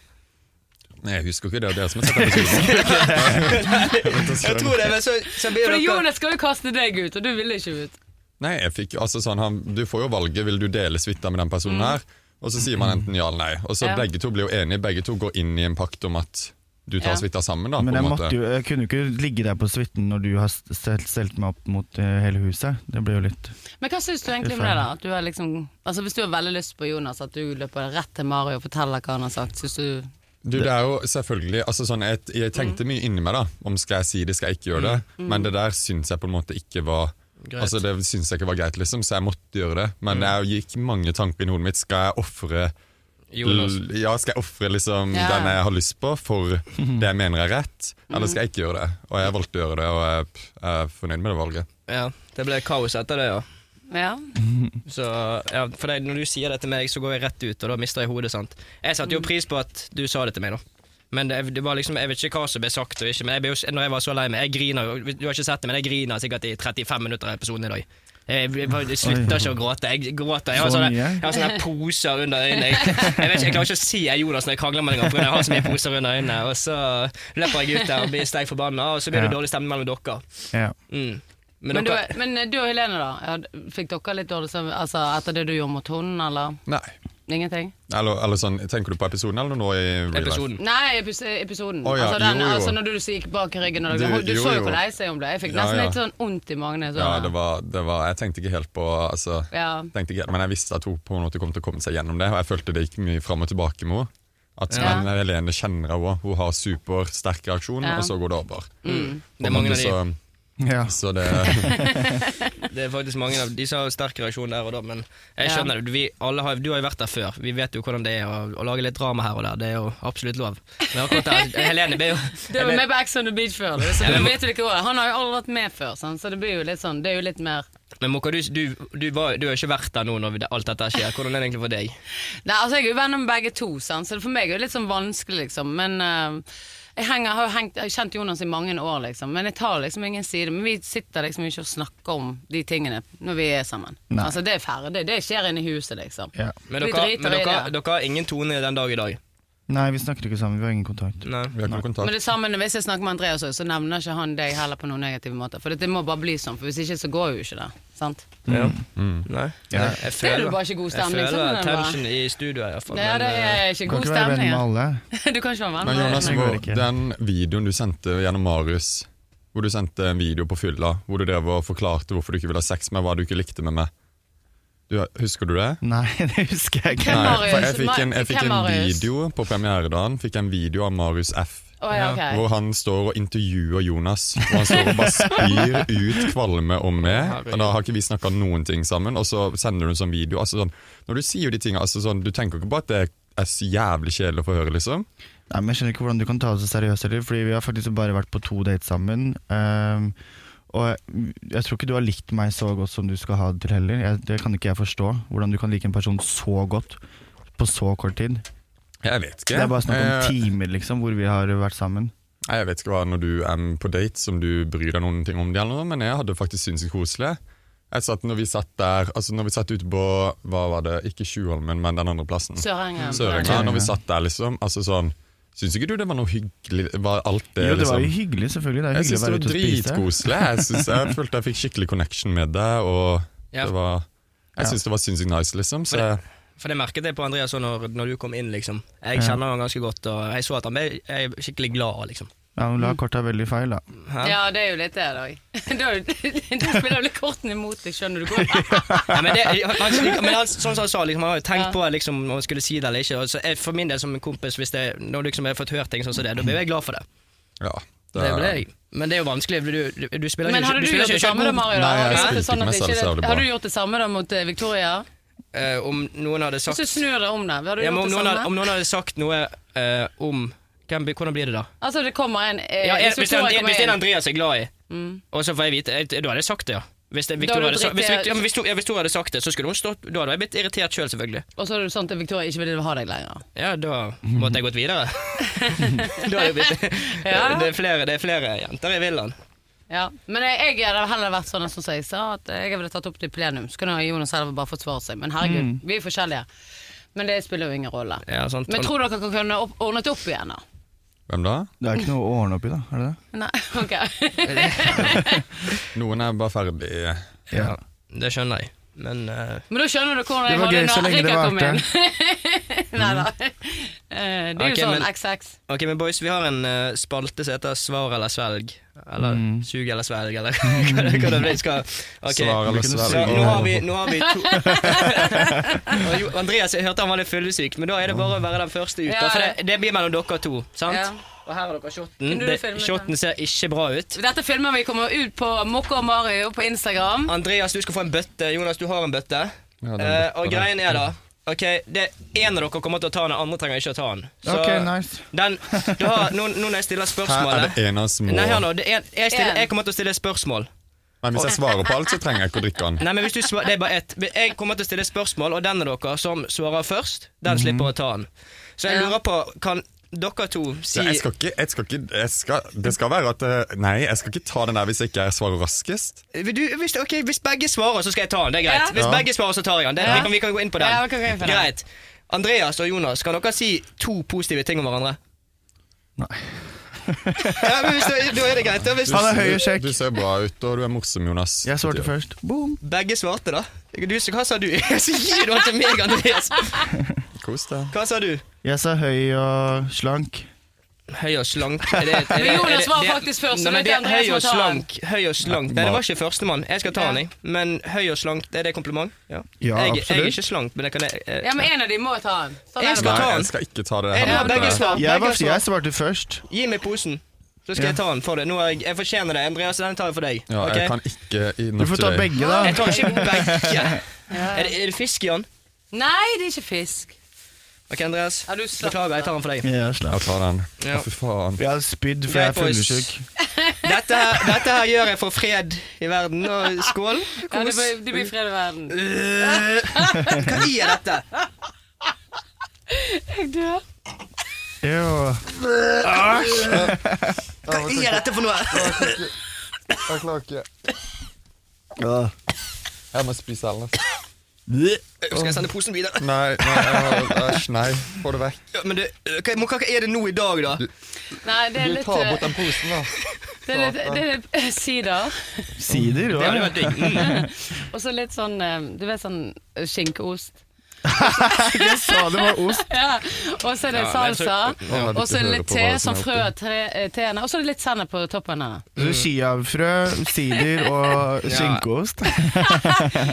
[SPEAKER 4] Nei, jeg husker ikke det. Det er dere som har sett episoden.
[SPEAKER 2] Jeg tror det, men så, så blir
[SPEAKER 1] For
[SPEAKER 2] dere
[SPEAKER 1] Jonas skal jo kaste deg ut, og du ville ikke ut.
[SPEAKER 4] Nei, jeg fikk, altså sånn, han, du får jo valget, vil du dele suita med den personen her? Og så sier man enten ja eller nei. Og så
[SPEAKER 1] Ja.
[SPEAKER 4] begge to blir jo enige, begge to går inn i en pakt om at du tar
[SPEAKER 1] Ja.
[SPEAKER 4] suita sammen, da.
[SPEAKER 3] Men
[SPEAKER 4] på
[SPEAKER 3] jeg,
[SPEAKER 4] en
[SPEAKER 3] måtte
[SPEAKER 4] måte.
[SPEAKER 3] jo, jeg kunne jo ikke ligge der på suiten når du har stelt, stelt meg opp mot eh, hele huset. Det ble jo litt
[SPEAKER 1] Men hva syns du egentlig om det, da? At du er liksom, altså Hvis du har veldig lyst på Jonas, at du løper rett til Mario og forteller hva han har sagt, syns du
[SPEAKER 4] Du, det er jo selvfølgelig altså sånn, jeg,
[SPEAKER 1] Mm.
[SPEAKER 4] jeg tenkte mye inni meg da om skal jeg si det, skal jeg ikke gjøre det. Men det der syns jeg på en måte ikke var
[SPEAKER 2] Greit.
[SPEAKER 4] Altså Det syns jeg ikke var greit, liksom, så jeg måtte gjøre det.
[SPEAKER 1] Mm.
[SPEAKER 4] Men jeg gikk mange tanker inn i hodet mitt. Skal jeg ofre
[SPEAKER 2] Jonas.
[SPEAKER 4] l- Ja, skal jeg ofre liksom
[SPEAKER 1] Ja.
[SPEAKER 4] den jeg har lyst på, for det jeg mener er rett? Eller skal jeg ikke gjøre det? Og jeg valgte å gjøre det, og jeg jeg er fornøyd med det valget.
[SPEAKER 2] Ja, det ble kaos etter det, ja.
[SPEAKER 1] Ja.
[SPEAKER 2] Så, ja for det, når du sier det til meg, så går jeg rett ut, og da mister jeg hodet. sant? Jeg satte jo
[SPEAKER 1] Mm.
[SPEAKER 2] pris på at du sa det til meg, da. Men det, det var liksom, jeg vet ikke hva som ble sagt. og ikke, men jeg ble jo, når jeg var så lei meg Jeg griner jo, du har ikke sett det, men jeg griner sikkert i 35 minutter av episoden i dag. Jeg, jeg, bare- jeg slutter ikke å gråte. Jeg gråter. Jeg har
[SPEAKER 1] Sånn
[SPEAKER 3] Så
[SPEAKER 2] sånne,
[SPEAKER 3] mye?
[SPEAKER 2] jeg har sånne poser under øynene. Jeg, jeg, vet ikke, jeg klarer ikke å si jeg Jonas når jeg krangler med deg, for jeg har så mye poser under øynene. Og så løper jeg ut der og blir steik forbanna, og så blir det
[SPEAKER 3] Ja.
[SPEAKER 2] dårlig stemning mellom dere.
[SPEAKER 3] ja.
[SPEAKER 2] Mm. Men,
[SPEAKER 1] Men, du,
[SPEAKER 2] dere,
[SPEAKER 1] men eh, du og Helene, da? ja, Fikk dere litt dårlig samvittighet altså, etter det du gjorde mot hunden, eller
[SPEAKER 4] Nei.
[SPEAKER 1] ingenting?
[SPEAKER 4] Eller, eller sånn, tenker du på episoden eller nå i real life?
[SPEAKER 2] episoden.
[SPEAKER 1] Nei, epis episoden.
[SPEAKER 4] Å, ja,
[SPEAKER 1] altså, den,
[SPEAKER 4] jo, jo.
[SPEAKER 1] altså Når du så gikk bak i ryggen. Og du,
[SPEAKER 4] Du-
[SPEAKER 1] du,
[SPEAKER 4] jo,
[SPEAKER 1] så jo
[SPEAKER 4] jo.
[SPEAKER 1] hvor lei seg hun ble. Jeg fikk
[SPEAKER 4] Ja,
[SPEAKER 1] nesten
[SPEAKER 4] ja.
[SPEAKER 1] litt sånn vondt i magen. jeg så
[SPEAKER 4] Ja,
[SPEAKER 1] det.
[SPEAKER 4] det var, det var, jeg tenkte ikke helt på altså,
[SPEAKER 1] Ja.
[SPEAKER 4] tenkte ikke helt, Men jeg visste at hun på en måte kom til å komme seg gjennom det, og jeg følte det gikk mye fram og tilbake med henne. At
[SPEAKER 1] Ja.
[SPEAKER 4] men Helene kjenner henne òg. Hun har supersterk reaksjon,
[SPEAKER 1] Ja.
[SPEAKER 4] og så går det over. På
[SPEAKER 2] Det er
[SPEAKER 4] en
[SPEAKER 2] mange
[SPEAKER 4] måte
[SPEAKER 2] av de.
[SPEAKER 4] så-
[SPEAKER 3] Ja.
[SPEAKER 4] Så det
[SPEAKER 2] Det er faktisk mange av de som har sterk reaksjon der og da, men jeg
[SPEAKER 1] Ja.
[SPEAKER 2] skjønner det. Vi, alle har, du har jo vært der før, vi vet jo hvordan det er å, å lage litt drama her og der. Det er jo absolutt lov. Men akkurat der, Helene ble jo
[SPEAKER 1] Du
[SPEAKER 2] jeg
[SPEAKER 1] var
[SPEAKER 2] ble-
[SPEAKER 1] med på Ex on the Beach før, du, så
[SPEAKER 2] Ja,
[SPEAKER 1] du
[SPEAKER 2] men-
[SPEAKER 1] vet jo ikke hva. Han har jo aldri vært med før, sant? så det blir jo litt sånn, det er jo litt mer
[SPEAKER 2] Men Mokka, du, du, du, var, du har ikke vært der nå når vi- alt dette skjer. Hvordan er det egentlig for deg?
[SPEAKER 1] Nei, altså Jeg er jo venner med begge to, sant? så det for meg er det litt sånn vanskelig, liksom. Men eh, jeg, henger, har jo hengt, jeg har kjent Jonas i mange år, liksom. Men jeg tar liksom ingen side. Men vi sitter liksom ikke og snakker om de tingene når vi er sammen.
[SPEAKER 3] Nei.
[SPEAKER 1] Altså Det er ferdig. Det skjer inne i huset, liksom.
[SPEAKER 3] Ja.
[SPEAKER 2] Men
[SPEAKER 1] Vi
[SPEAKER 2] dere,
[SPEAKER 1] driter
[SPEAKER 2] men
[SPEAKER 1] i det.
[SPEAKER 2] dere, dere har ingen tone den dag i dag.
[SPEAKER 3] Nei, vi snakker ikke sammen. Vi har ingen kontakt.
[SPEAKER 2] Nei.
[SPEAKER 4] Vi har ikke noe
[SPEAKER 1] Men
[SPEAKER 4] kontakt.
[SPEAKER 1] det samme når- hvis jeg snakker med Andreas også, så nevner ikke han deg heller på noen negative måter. For det må bare bli sånn, for hvis ikke så går jo ikke det. Sant?
[SPEAKER 2] Ja. Nei.
[SPEAKER 3] Ja.
[SPEAKER 2] Jeg
[SPEAKER 1] Det er jo bare ikke god stemning,
[SPEAKER 2] Jeg
[SPEAKER 1] sånn er det
[SPEAKER 2] føler
[SPEAKER 1] bare.
[SPEAKER 2] tension i studioet, iallfall.
[SPEAKER 1] Ja, det
[SPEAKER 2] eh,
[SPEAKER 1] er ikke
[SPEAKER 3] eh, Kan
[SPEAKER 1] god
[SPEAKER 3] ikke være venn
[SPEAKER 1] stemning.
[SPEAKER 3] med
[SPEAKER 1] ja.
[SPEAKER 3] alle.
[SPEAKER 1] Du kan ikke være venn
[SPEAKER 4] Men
[SPEAKER 1] med
[SPEAKER 4] Jonas,
[SPEAKER 1] alle.
[SPEAKER 3] Nei,
[SPEAKER 4] hvor,
[SPEAKER 3] det går ikke.
[SPEAKER 4] den videoen du sendte gjennom Marius hvor du sendte en video på fylla hvor du drev og forklarte hvorfor du ikke ville ha sex med hva du ikke likte med meg. Du, husker du det?
[SPEAKER 3] Nei, det husker jeg ikke.
[SPEAKER 1] Hvem
[SPEAKER 4] Nei, for jeg
[SPEAKER 1] Marius?
[SPEAKER 4] fikk en, jeg fikk
[SPEAKER 1] Hvem
[SPEAKER 4] en
[SPEAKER 1] Marius?
[SPEAKER 4] video på premieredagen Fikk en video av Marius F.
[SPEAKER 1] Å, ja, ok.
[SPEAKER 4] Hvor han står og intervjuer Jonas. Og han står og bare spyr ut kvalme om meg. Og Da har ikke vi snakka noen ting sammen, og så sender du en sånn video. Altså, sånn, når du sier de tingene, altså, sånn, du tenker ikke på at det er så jævlig kjedelig å få høre, liksom.
[SPEAKER 3] Nei, men Jeg skjønner ikke hvordan du kan ta det så seriøst heller, fordi vi har faktisk bare vært på to dates sammen. ehm, og jeg, jeg tror ikke du har likt meg så godt som du skal ha det til heller. Jeg, det kan ikke jeg forstå. Hvordan du kan like en person så godt på så kort tid.
[SPEAKER 4] Jeg vet ikke.
[SPEAKER 3] Det er bare snakk om
[SPEAKER 4] Eh,
[SPEAKER 3] timer liksom, hvor vi har vært sammen.
[SPEAKER 4] Nei, Jeg vet ikke hva når du er på date som du bryr deg noen ting om det eller noe, men jeg hadde faktisk syntes det koselig. Jeg satt, når vi satt der, altså når vi satt ute på, hva var det, ikke Tjuvholmen, men den andre plassen.
[SPEAKER 1] Sørenga.
[SPEAKER 4] Sørenga, når vi satt der liksom, altså sånn, synes ikke du det var noe hyggelig, var alt det
[SPEAKER 3] jo, det var jo
[SPEAKER 4] liksom?
[SPEAKER 3] hyggelig, selvfølgelig. Det er
[SPEAKER 4] Jeg
[SPEAKER 3] hyggelig å
[SPEAKER 4] synes det
[SPEAKER 3] være
[SPEAKER 4] var
[SPEAKER 3] ute og spise.
[SPEAKER 4] dritkoselig, jeg synes jeg følte jeg fikk skikkelig connection med deg, og
[SPEAKER 2] Ja.
[SPEAKER 4] det var,
[SPEAKER 3] Ja.
[SPEAKER 4] jeg synes det var sinnssykt nice liksom, så jeg,
[SPEAKER 2] For det merket jeg på Andreas også når, når du kom inn, liksom. Jeg kjenner han ganske godt, og jeg så at han ble jeg er skikkelig glad, liksom.
[SPEAKER 3] Ja, hun la korta veldig feil, da.
[SPEAKER 1] Ja, det er jo litt det, da. Da, da spiller du kortene imot deg, skjønner du godt.
[SPEAKER 2] Nei, men, det, han, men han, sånn som han sa, liksom, han har jo tenkt på liksom, om han skulle si det eller ikke. Og så jeg, for min del som en kompis, hvis det, når liksom, jeg har fått hørt ting sånn som det, da blir jeg glad for det.
[SPEAKER 4] ja.
[SPEAKER 2] det ble jeg. Men det er jo vanskelig. for Du, du, du spiller
[SPEAKER 1] Men
[SPEAKER 2] ikke
[SPEAKER 1] hadde du
[SPEAKER 2] spiller
[SPEAKER 1] gjort det
[SPEAKER 2] ikke
[SPEAKER 1] samme da,
[SPEAKER 2] god-
[SPEAKER 1] Mario?
[SPEAKER 4] Nei, jeg
[SPEAKER 1] Hadde du gjort
[SPEAKER 4] spilte
[SPEAKER 1] det sånn at
[SPEAKER 4] ikke meg
[SPEAKER 1] det
[SPEAKER 4] selv
[SPEAKER 1] ikke-
[SPEAKER 4] særlig bra.
[SPEAKER 1] Hadde du gjort det samme da mot eh, Victoria?
[SPEAKER 2] Eh, om noen hadde
[SPEAKER 1] Hvis
[SPEAKER 2] sagt
[SPEAKER 1] du snur deg om, da. Hadde du
[SPEAKER 2] ja, men om,
[SPEAKER 1] gjort det
[SPEAKER 2] noen hadde, om
[SPEAKER 1] samme?
[SPEAKER 2] noen hadde sagt noe eh, om hvem, blir- Hvordan blir det da?
[SPEAKER 1] Altså, det kommer en eh,
[SPEAKER 2] Ja, jeg,
[SPEAKER 1] Hvis
[SPEAKER 2] hvis, det er-
[SPEAKER 1] Victoria
[SPEAKER 2] hvis det
[SPEAKER 1] kommer inn
[SPEAKER 2] er en
[SPEAKER 1] Mm.
[SPEAKER 2] Andreas er glad i, og så får jeg vite jeg, Da hadde jeg sagt det, ja. Hvis, det,
[SPEAKER 1] hadde
[SPEAKER 2] Victoria hadde,
[SPEAKER 1] du
[SPEAKER 2] sagt- hvis,
[SPEAKER 1] dritt-
[SPEAKER 2] Victor- ja, men hvis, hun- ja, hvis hun hadde sagt det, så skulle hun stått Da hadde jeg blitt irritert sjøl, selv, selvfølgelig.
[SPEAKER 1] Og så er det sånn at Victoria ikke vil ha deg lenger.
[SPEAKER 2] Ja, da måtte jeg gått videre. da hadde jeg blitt
[SPEAKER 1] Ja.
[SPEAKER 2] det, er flere, det er flere jenter i villaen.
[SPEAKER 1] Ja. Men jeg, jeg hadde heller vært sånn som jeg sa, at jeg ville tatt opp det i plenum. Så kunne Jonas heller bare forsvare seg. Men herregud,
[SPEAKER 2] Mm.
[SPEAKER 1] vi er forskjellige. Men det spiller jo ingen rolle.
[SPEAKER 2] Ja, sant.
[SPEAKER 1] Men tror dere kan kunne opp, ordnet opp igjen, da?
[SPEAKER 4] Hvem da?
[SPEAKER 3] Det er ikke noe å ordne opp i, da. Er det det?
[SPEAKER 1] Nei, ok.
[SPEAKER 4] Noen er bare ferdig.
[SPEAKER 2] ja, det skjønner jeg. Men eh,
[SPEAKER 1] Men da skjønner du hvordan
[SPEAKER 3] Det
[SPEAKER 1] jeg
[SPEAKER 3] var
[SPEAKER 1] hadde
[SPEAKER 3] gøy så
[SPEAKER 1] når
[SPEAKER 3] lenge det
[SPEAKER 1] Rikard kom inn.
[SPEAKER 3] varte.
[SPEAKER 1] Nei da. Eh, Det er
[SPEAKER 2] Ok,
[SPEAKER 1] jo sånn
[SPEAKER 2] men-
[SPEAKER 1] XX.
[SPEAKER 2] Ok, men boys, vi har en eh, spalte som heter Svar eller svelg. Eller
[SPEAKER 4] Mm.
[SPEAKER 2] sug eller svelg, eller hva det- hva det blir. Skal Ok.
[SPEAKER 4] Svar eller
[SPEAKER 3] Hvilken
[SPEAKER 2] Så,
[SPEAKER 4] svelg?
[SPEAKER 2] nå har vi, nå har vi to Og jo, Andreas, jeg hørte han var litt fyllesyk, men da er det bare å være den første ute.
[SPEAKER 1] Ja.
[SPEAKER 2] For det, det blir mellom dere to, sant?
[SPEAKER 1] Ja.
[SPEAKER 2] Og her har dere shoten.
[SPEAKER 1] Kunne du
[SPEAKER 2] Det-
[SPEAKER 1] filmet den?
[SPEAKER 2] Shoten ser ikke bra ut.
[SPEAKER 1] Dette filmer vi kommer ut på Mokka og Mario på Instagram.
[SPEAKER 2] Andreas, du skal få en bøtte. Jonas, du har en bøtte.
[SPEAKER 4] Ja, den
[SPEAKER 2] Eh, og
[SPEAKER 4] bøtta der.
[SPEAKER 2] greien er da Ok, det En av dere kommer til å ta den, den andre trenger ikke å ta den. Så
[SPEAKER 3] Ok, nice.
[SPEAKER 2] den, du har, nå, nå når jeg stiller
[SPEAKER 4] Her
[SPEAKER 2] spørsmålet
[SPEAKER 4] er det en av små.
[SPEAKER 2] Nei, hør nå. Det er, jeg, stiller,
[SPEAKER 1] En.
[SPEAKER 2] jeg kommer til å stille et spørsmål.
[SPEAKER 4] Men hvis jeg svarer på alt, så trenger jeg ikke å drikke den.
[SPEAKER 2] Nei, men hvis du svar, det er bare ett. Jeg kommer til å stille et spørsmål, og den av dere som svarer først,
[SPEAKER 4] Mhm.
[SPEAKER 2] den slipper å ta den. Så jeg
[SPEAKER 1] Ja.
[SPEAKER 2] lurer på, kan dere to si
[SPEAKER 4] Ja, jeg skal ikke, jeg skal ikke jeg skal, Det skal være at eh, Nei, jeg skal ikke ta den der hvis jeg ikke jeg svarer raskest.
[SPEAKER 2] Vil du, hvis, ok, hvis begge svarer, så skal jeg ta den. Det er
[SPEAKER 1] Ja.
[SPEAKER 2] greit. Hvis
[SPEAKER 4] Ja.
[SPEAKER 2] begge svarer, så tar jeg den. Det,
[SPEAKER 1] Ja.
[SPEAKER 2] vi, kan, vi kan gå inn på den.
[SPEAKER 1] Ja, vi kan gå inn på den.
[SPEAKER 2] Greit. Andreas og Jonas, kan dere si to positive ting om hverandre?
[SPEAKER 3] Nei.
[SPEAKER 2] Ja, men hvis, da- da er det greit. Da, hvis
[SPEAKER 3] Han er høy og
[SPEAKER 4] Du-
[SPEAKER 3] kjekk.
[SPEAKER 4] Du ser bra ut, og du er morsom, Jonas.
[SPEAKER 3] Jeg svarte først. Boom!
[SPEAKER 2] begge svarte, da. Du, så hva sa du? Så gir du den til meg, Andreas.
[SPEAKER 4] Kos deg.
[SPEAKER 2] Hva sa du?
[SPEAKER 3] Jeg sa høy og slank.
[SPEAKER 2] Høy og slank er det, er det, er
[SPEAKER 1] Men Jonas
[SPEAKER 2] det-
[SPEAKER 1] var
[SPEAKER 2] det-
[SPEAKER 1] faktisk først, så
[SPEAKER 2] Nei, men
[SPEAKER 1] det er
[SPEAKER 2] det-
[SPEAKER 1] Andreas
[SPEAKER 2] Høy
[SPEAKER 1] må
[SPEAKER 2] og
[SPEAKER 1] ta han.
[SPEAKER 2] slank. Høy og slank. Nei, det var ikke førstemann. Jeg skal ta
[SPEAKER 1] Ja.
[SPEAKER 2] han, jeg. Men høy og slank, er det kompliment? Ja,
[SPEAKER 3] Ja,
[SPEAKER 2] jeg, jeg er
[SPEAKER 3] absolutt.
[SPEAKER 2] ikke slank, men jeg kan jeg,
[SPEAKER 1] Ja, men en av de må ta den. Sånn
[SPEAKER 2] Jeg
[SPEAKER 1] er det
[SPEAKER 2] skal
[SPEAKER 1] bare.
[SPEAKER 2] ta
[SPEAKER 4] Nei,
[SPEAKER 2] den.
[SPEAKER 4] jeg skal ikke ta det.
[SPEAKER 2] jeg,
[SPEAKER 4] her
[SPEAKER 2] ja,
[SPEAKER 4] nå.
[SPEAKER 2] begge svar.
[SPEAKER 3] Jeg,
[SPEAKER 2] Begge
[SPEAKER 3] var, jeg
[SPEAKER 2] svar.
[SPEAKER 3] svarte først.
[SPEAKER 2] Gi meg posen. Så skal jeg ta den for deg. Nå er jeg, jeg fortjener det. Andreas, den tar jeg for deg.
[SPEAKER 4] Ja,
[SPEAKER 2] ok?
[SPEAKER 4] Jeg kan ikke
[SPEAKER 3] Du får ta begge, da.
[SPEAKER 2] Jeg tar ikke begge. Er det, er det fisk i den?
[SPEAKER 1] Nei, det er ikke fisk.
[SPEAKER 2] Ok, Andreas.
[SPEAKER 1] Ja, du slapp
[SPEAKER 2] Beklager, jeg tar den for deg.
[SPEAKER 3] Ja, slapp.
[SPEAKER 4] Jeg tar den.
[SPEAKER 2] Ja.
[SPEAKER 4] Å, fy faen.
[SPEAKER 3] Jeg har spydd, for jeg er
[SPEAKER 2] Greit, boys.
[SPEAKER 3] fyllesyk.
[SPEAKER 2] Dette her, dette her gjør jeg for fred i verden. Og skål.
[SPEAKER 1] Ja, det
[SPEAKER 2] Kos.
[SPEAKER 1] blir, det blir fred i verden.
[SPEAKER 2] Øh, Hva er dette?
[SPEAKER 1] Jeg dør.
[SPEAKER 3] Jo.
[SPEAKER 2] Hva er dette for noe?
[SPEAKER 4] Jeg klarer ikke.
[SPEAKER 3] Ja.
[SPEAKER 4] Jeg må spise ellers.
[SPEAKER 2] Skal jeg sende posen videre?
[SPEAKER 4] Nei, nei, jeg har- æsj, nei. Få det vekk.
[SPEAKER 2] Ja, Men du, øh, hva, hva hva er det nå i dag, da?
[SPEAKER 1] Nei, det er
[SPEAKER 4] Du
[SPEAKER 1] litt,
[SPEAKER 4] tar
[SPEAKER 1] eh,
[SPEAKER 4] bort den posen, da.
[SPEAKER 1] det er litt, det er litt eh, sider.
[SPEAKER 3] Sider, jo.
[SPEAKER 2] Det hadde vært digg. Mm.
[SPEAKER 1] Og så litt sånn, eh, du vet sånn eh, skinkeost.
[SPEAKER 3] Jeg sa det var ost.
[SPEAKER 1] Ja. Og så er det
[SPEAKER 2] Ja, men så-
[SPEAKER 1] salsa.
[SPEAKER 4] Ja.
[SPEAKER 1] Og så er det litt
[SPEAKER 4] Hører på
[SPEAKER 1] te,
[SPEAKER 4] hva
[SPEAKER 1] sånn
[SPEAKER 4] som er
[SPEAKER 1] frø av tre- eh, teene. Og så er det litt sennep på toppen her.
[SPEAKER 3] Så Chiafrø, sider og skinkeost.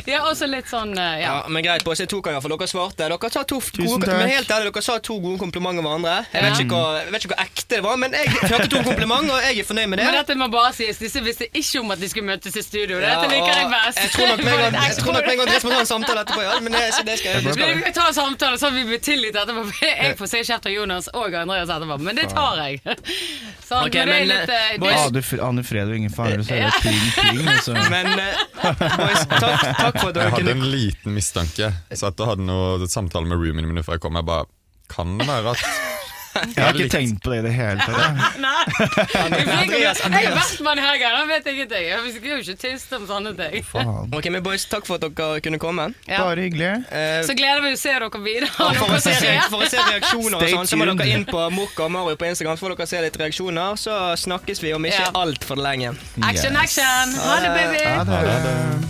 [SPEAKER 1] Ja, og så litt sånn, eh, ja.
[SPEAKER 2] Ja, men greit, boys. Jeg tok den iallfall. Dere svarte. Dere sa to f-
[SPEAKER 3] Tusen
[SPEAKER 2] gode,
[SPEAKER 3] takk.
[SPEAKER 2] men helt ærlig, dere sa to gode komplimenter hverandre.
[SPEAKER 1] Ja.
[SPEAKER 2] Jeg vet, ikke hva, jeg vet ikke hvor ekte det var, men jeg hørte to komplimenter, og jeg er fornøyd med det.
[SPEAKER 1] Men dette må bare sies, disse visste ikke om at de skulle møtes i studio. Dette
[SPEAKER 2] Ja,
[SPEAKER 1] liker jeg
[SPEAKER 2] og
[SPEAKER 1] best.
[SPEAKER 2] Jeg tror nok med en gang- jeg tror nok med en
[SPEAKER 1] Jeg
[SPEAKER 2] gang Andreas må ta en samtale etterpå, ja. Men det, så det skal jeg. Det skal jeg.
[SPEAKER 1] Vi tar en samtale, så vi blir tilgitt etterpå. for Jeg får se kjeft av Jonas og Andreas etterpå, men det tar jeg. Sånn, men
[SPEAKER 2] Ok,
[SPEAKER 1] det er
[SPEAKER 2] men,
[SPEAKER 1] litt eh,
[SPEAKER 2] eh,
[SPEAKER 1] det-
[SPEAKER 2] boys-
[SPEAKER 3] Ane Fre- Ane Fred og ingen fare, så er det pling, pling. Altså.
[SPEAKER 2] Men eh, boys, takk, takk for at dere
[SPEAKER 4] Jeg hadde
[SPEAKER 2] kunne
[SPEAKER 4] en liten mistanke. Så at jeg hadde noe samtale med roomien min før jeg kom. Jeg bare Kan det være at
[SPEAKER 3] Jeg har ikke tenkt på det i det hele tatt. jeg.
[SPEAKER 1] Nei. Jeg fikk-
[SPEAKER 2] Andreas,
[SPEAKER 1] Jeg er vertmann her, Geir. Han vet ingenting. Jeg skal jo ikke tyste om sånne ting.
[SPEAKER 3] Faen.
[SPEAKER 2] Ok, men boys, Takk for at dere kunne komme.
[SPEAKER 1] Ja.
[SPEAKER 3] Bare hyggelig.
[SPEAKER 2] Eh,
[SPEAKER 1] Så gleder vi oss til å se dere videre.
[SPEAKER 2] og
[SPEAKER 1] og
[SPEAKER 2] for, å
[SPEAKER 1] noe
[SPEAKER 2] se,
[SPEAKER 1] som skjer.
[SPEAKER 2] for å se reaksjoner og
[SPEAKER 3] Stay
[SPEAKER 2] sånn, så må dere
[SPEAKER 3] tuned.
[SPEAKER 2] inn på Mokka og Mario på Instagram. Så får dere se litt reaksjoner, så snakkes vi om ikke
[SPEAKER 1] Ja.
[SPEAKER 2] altfor lenge.
[SPEAKER 1] Action, action! Ha det, baby!
[SPEAKER 3] Ja, det er det.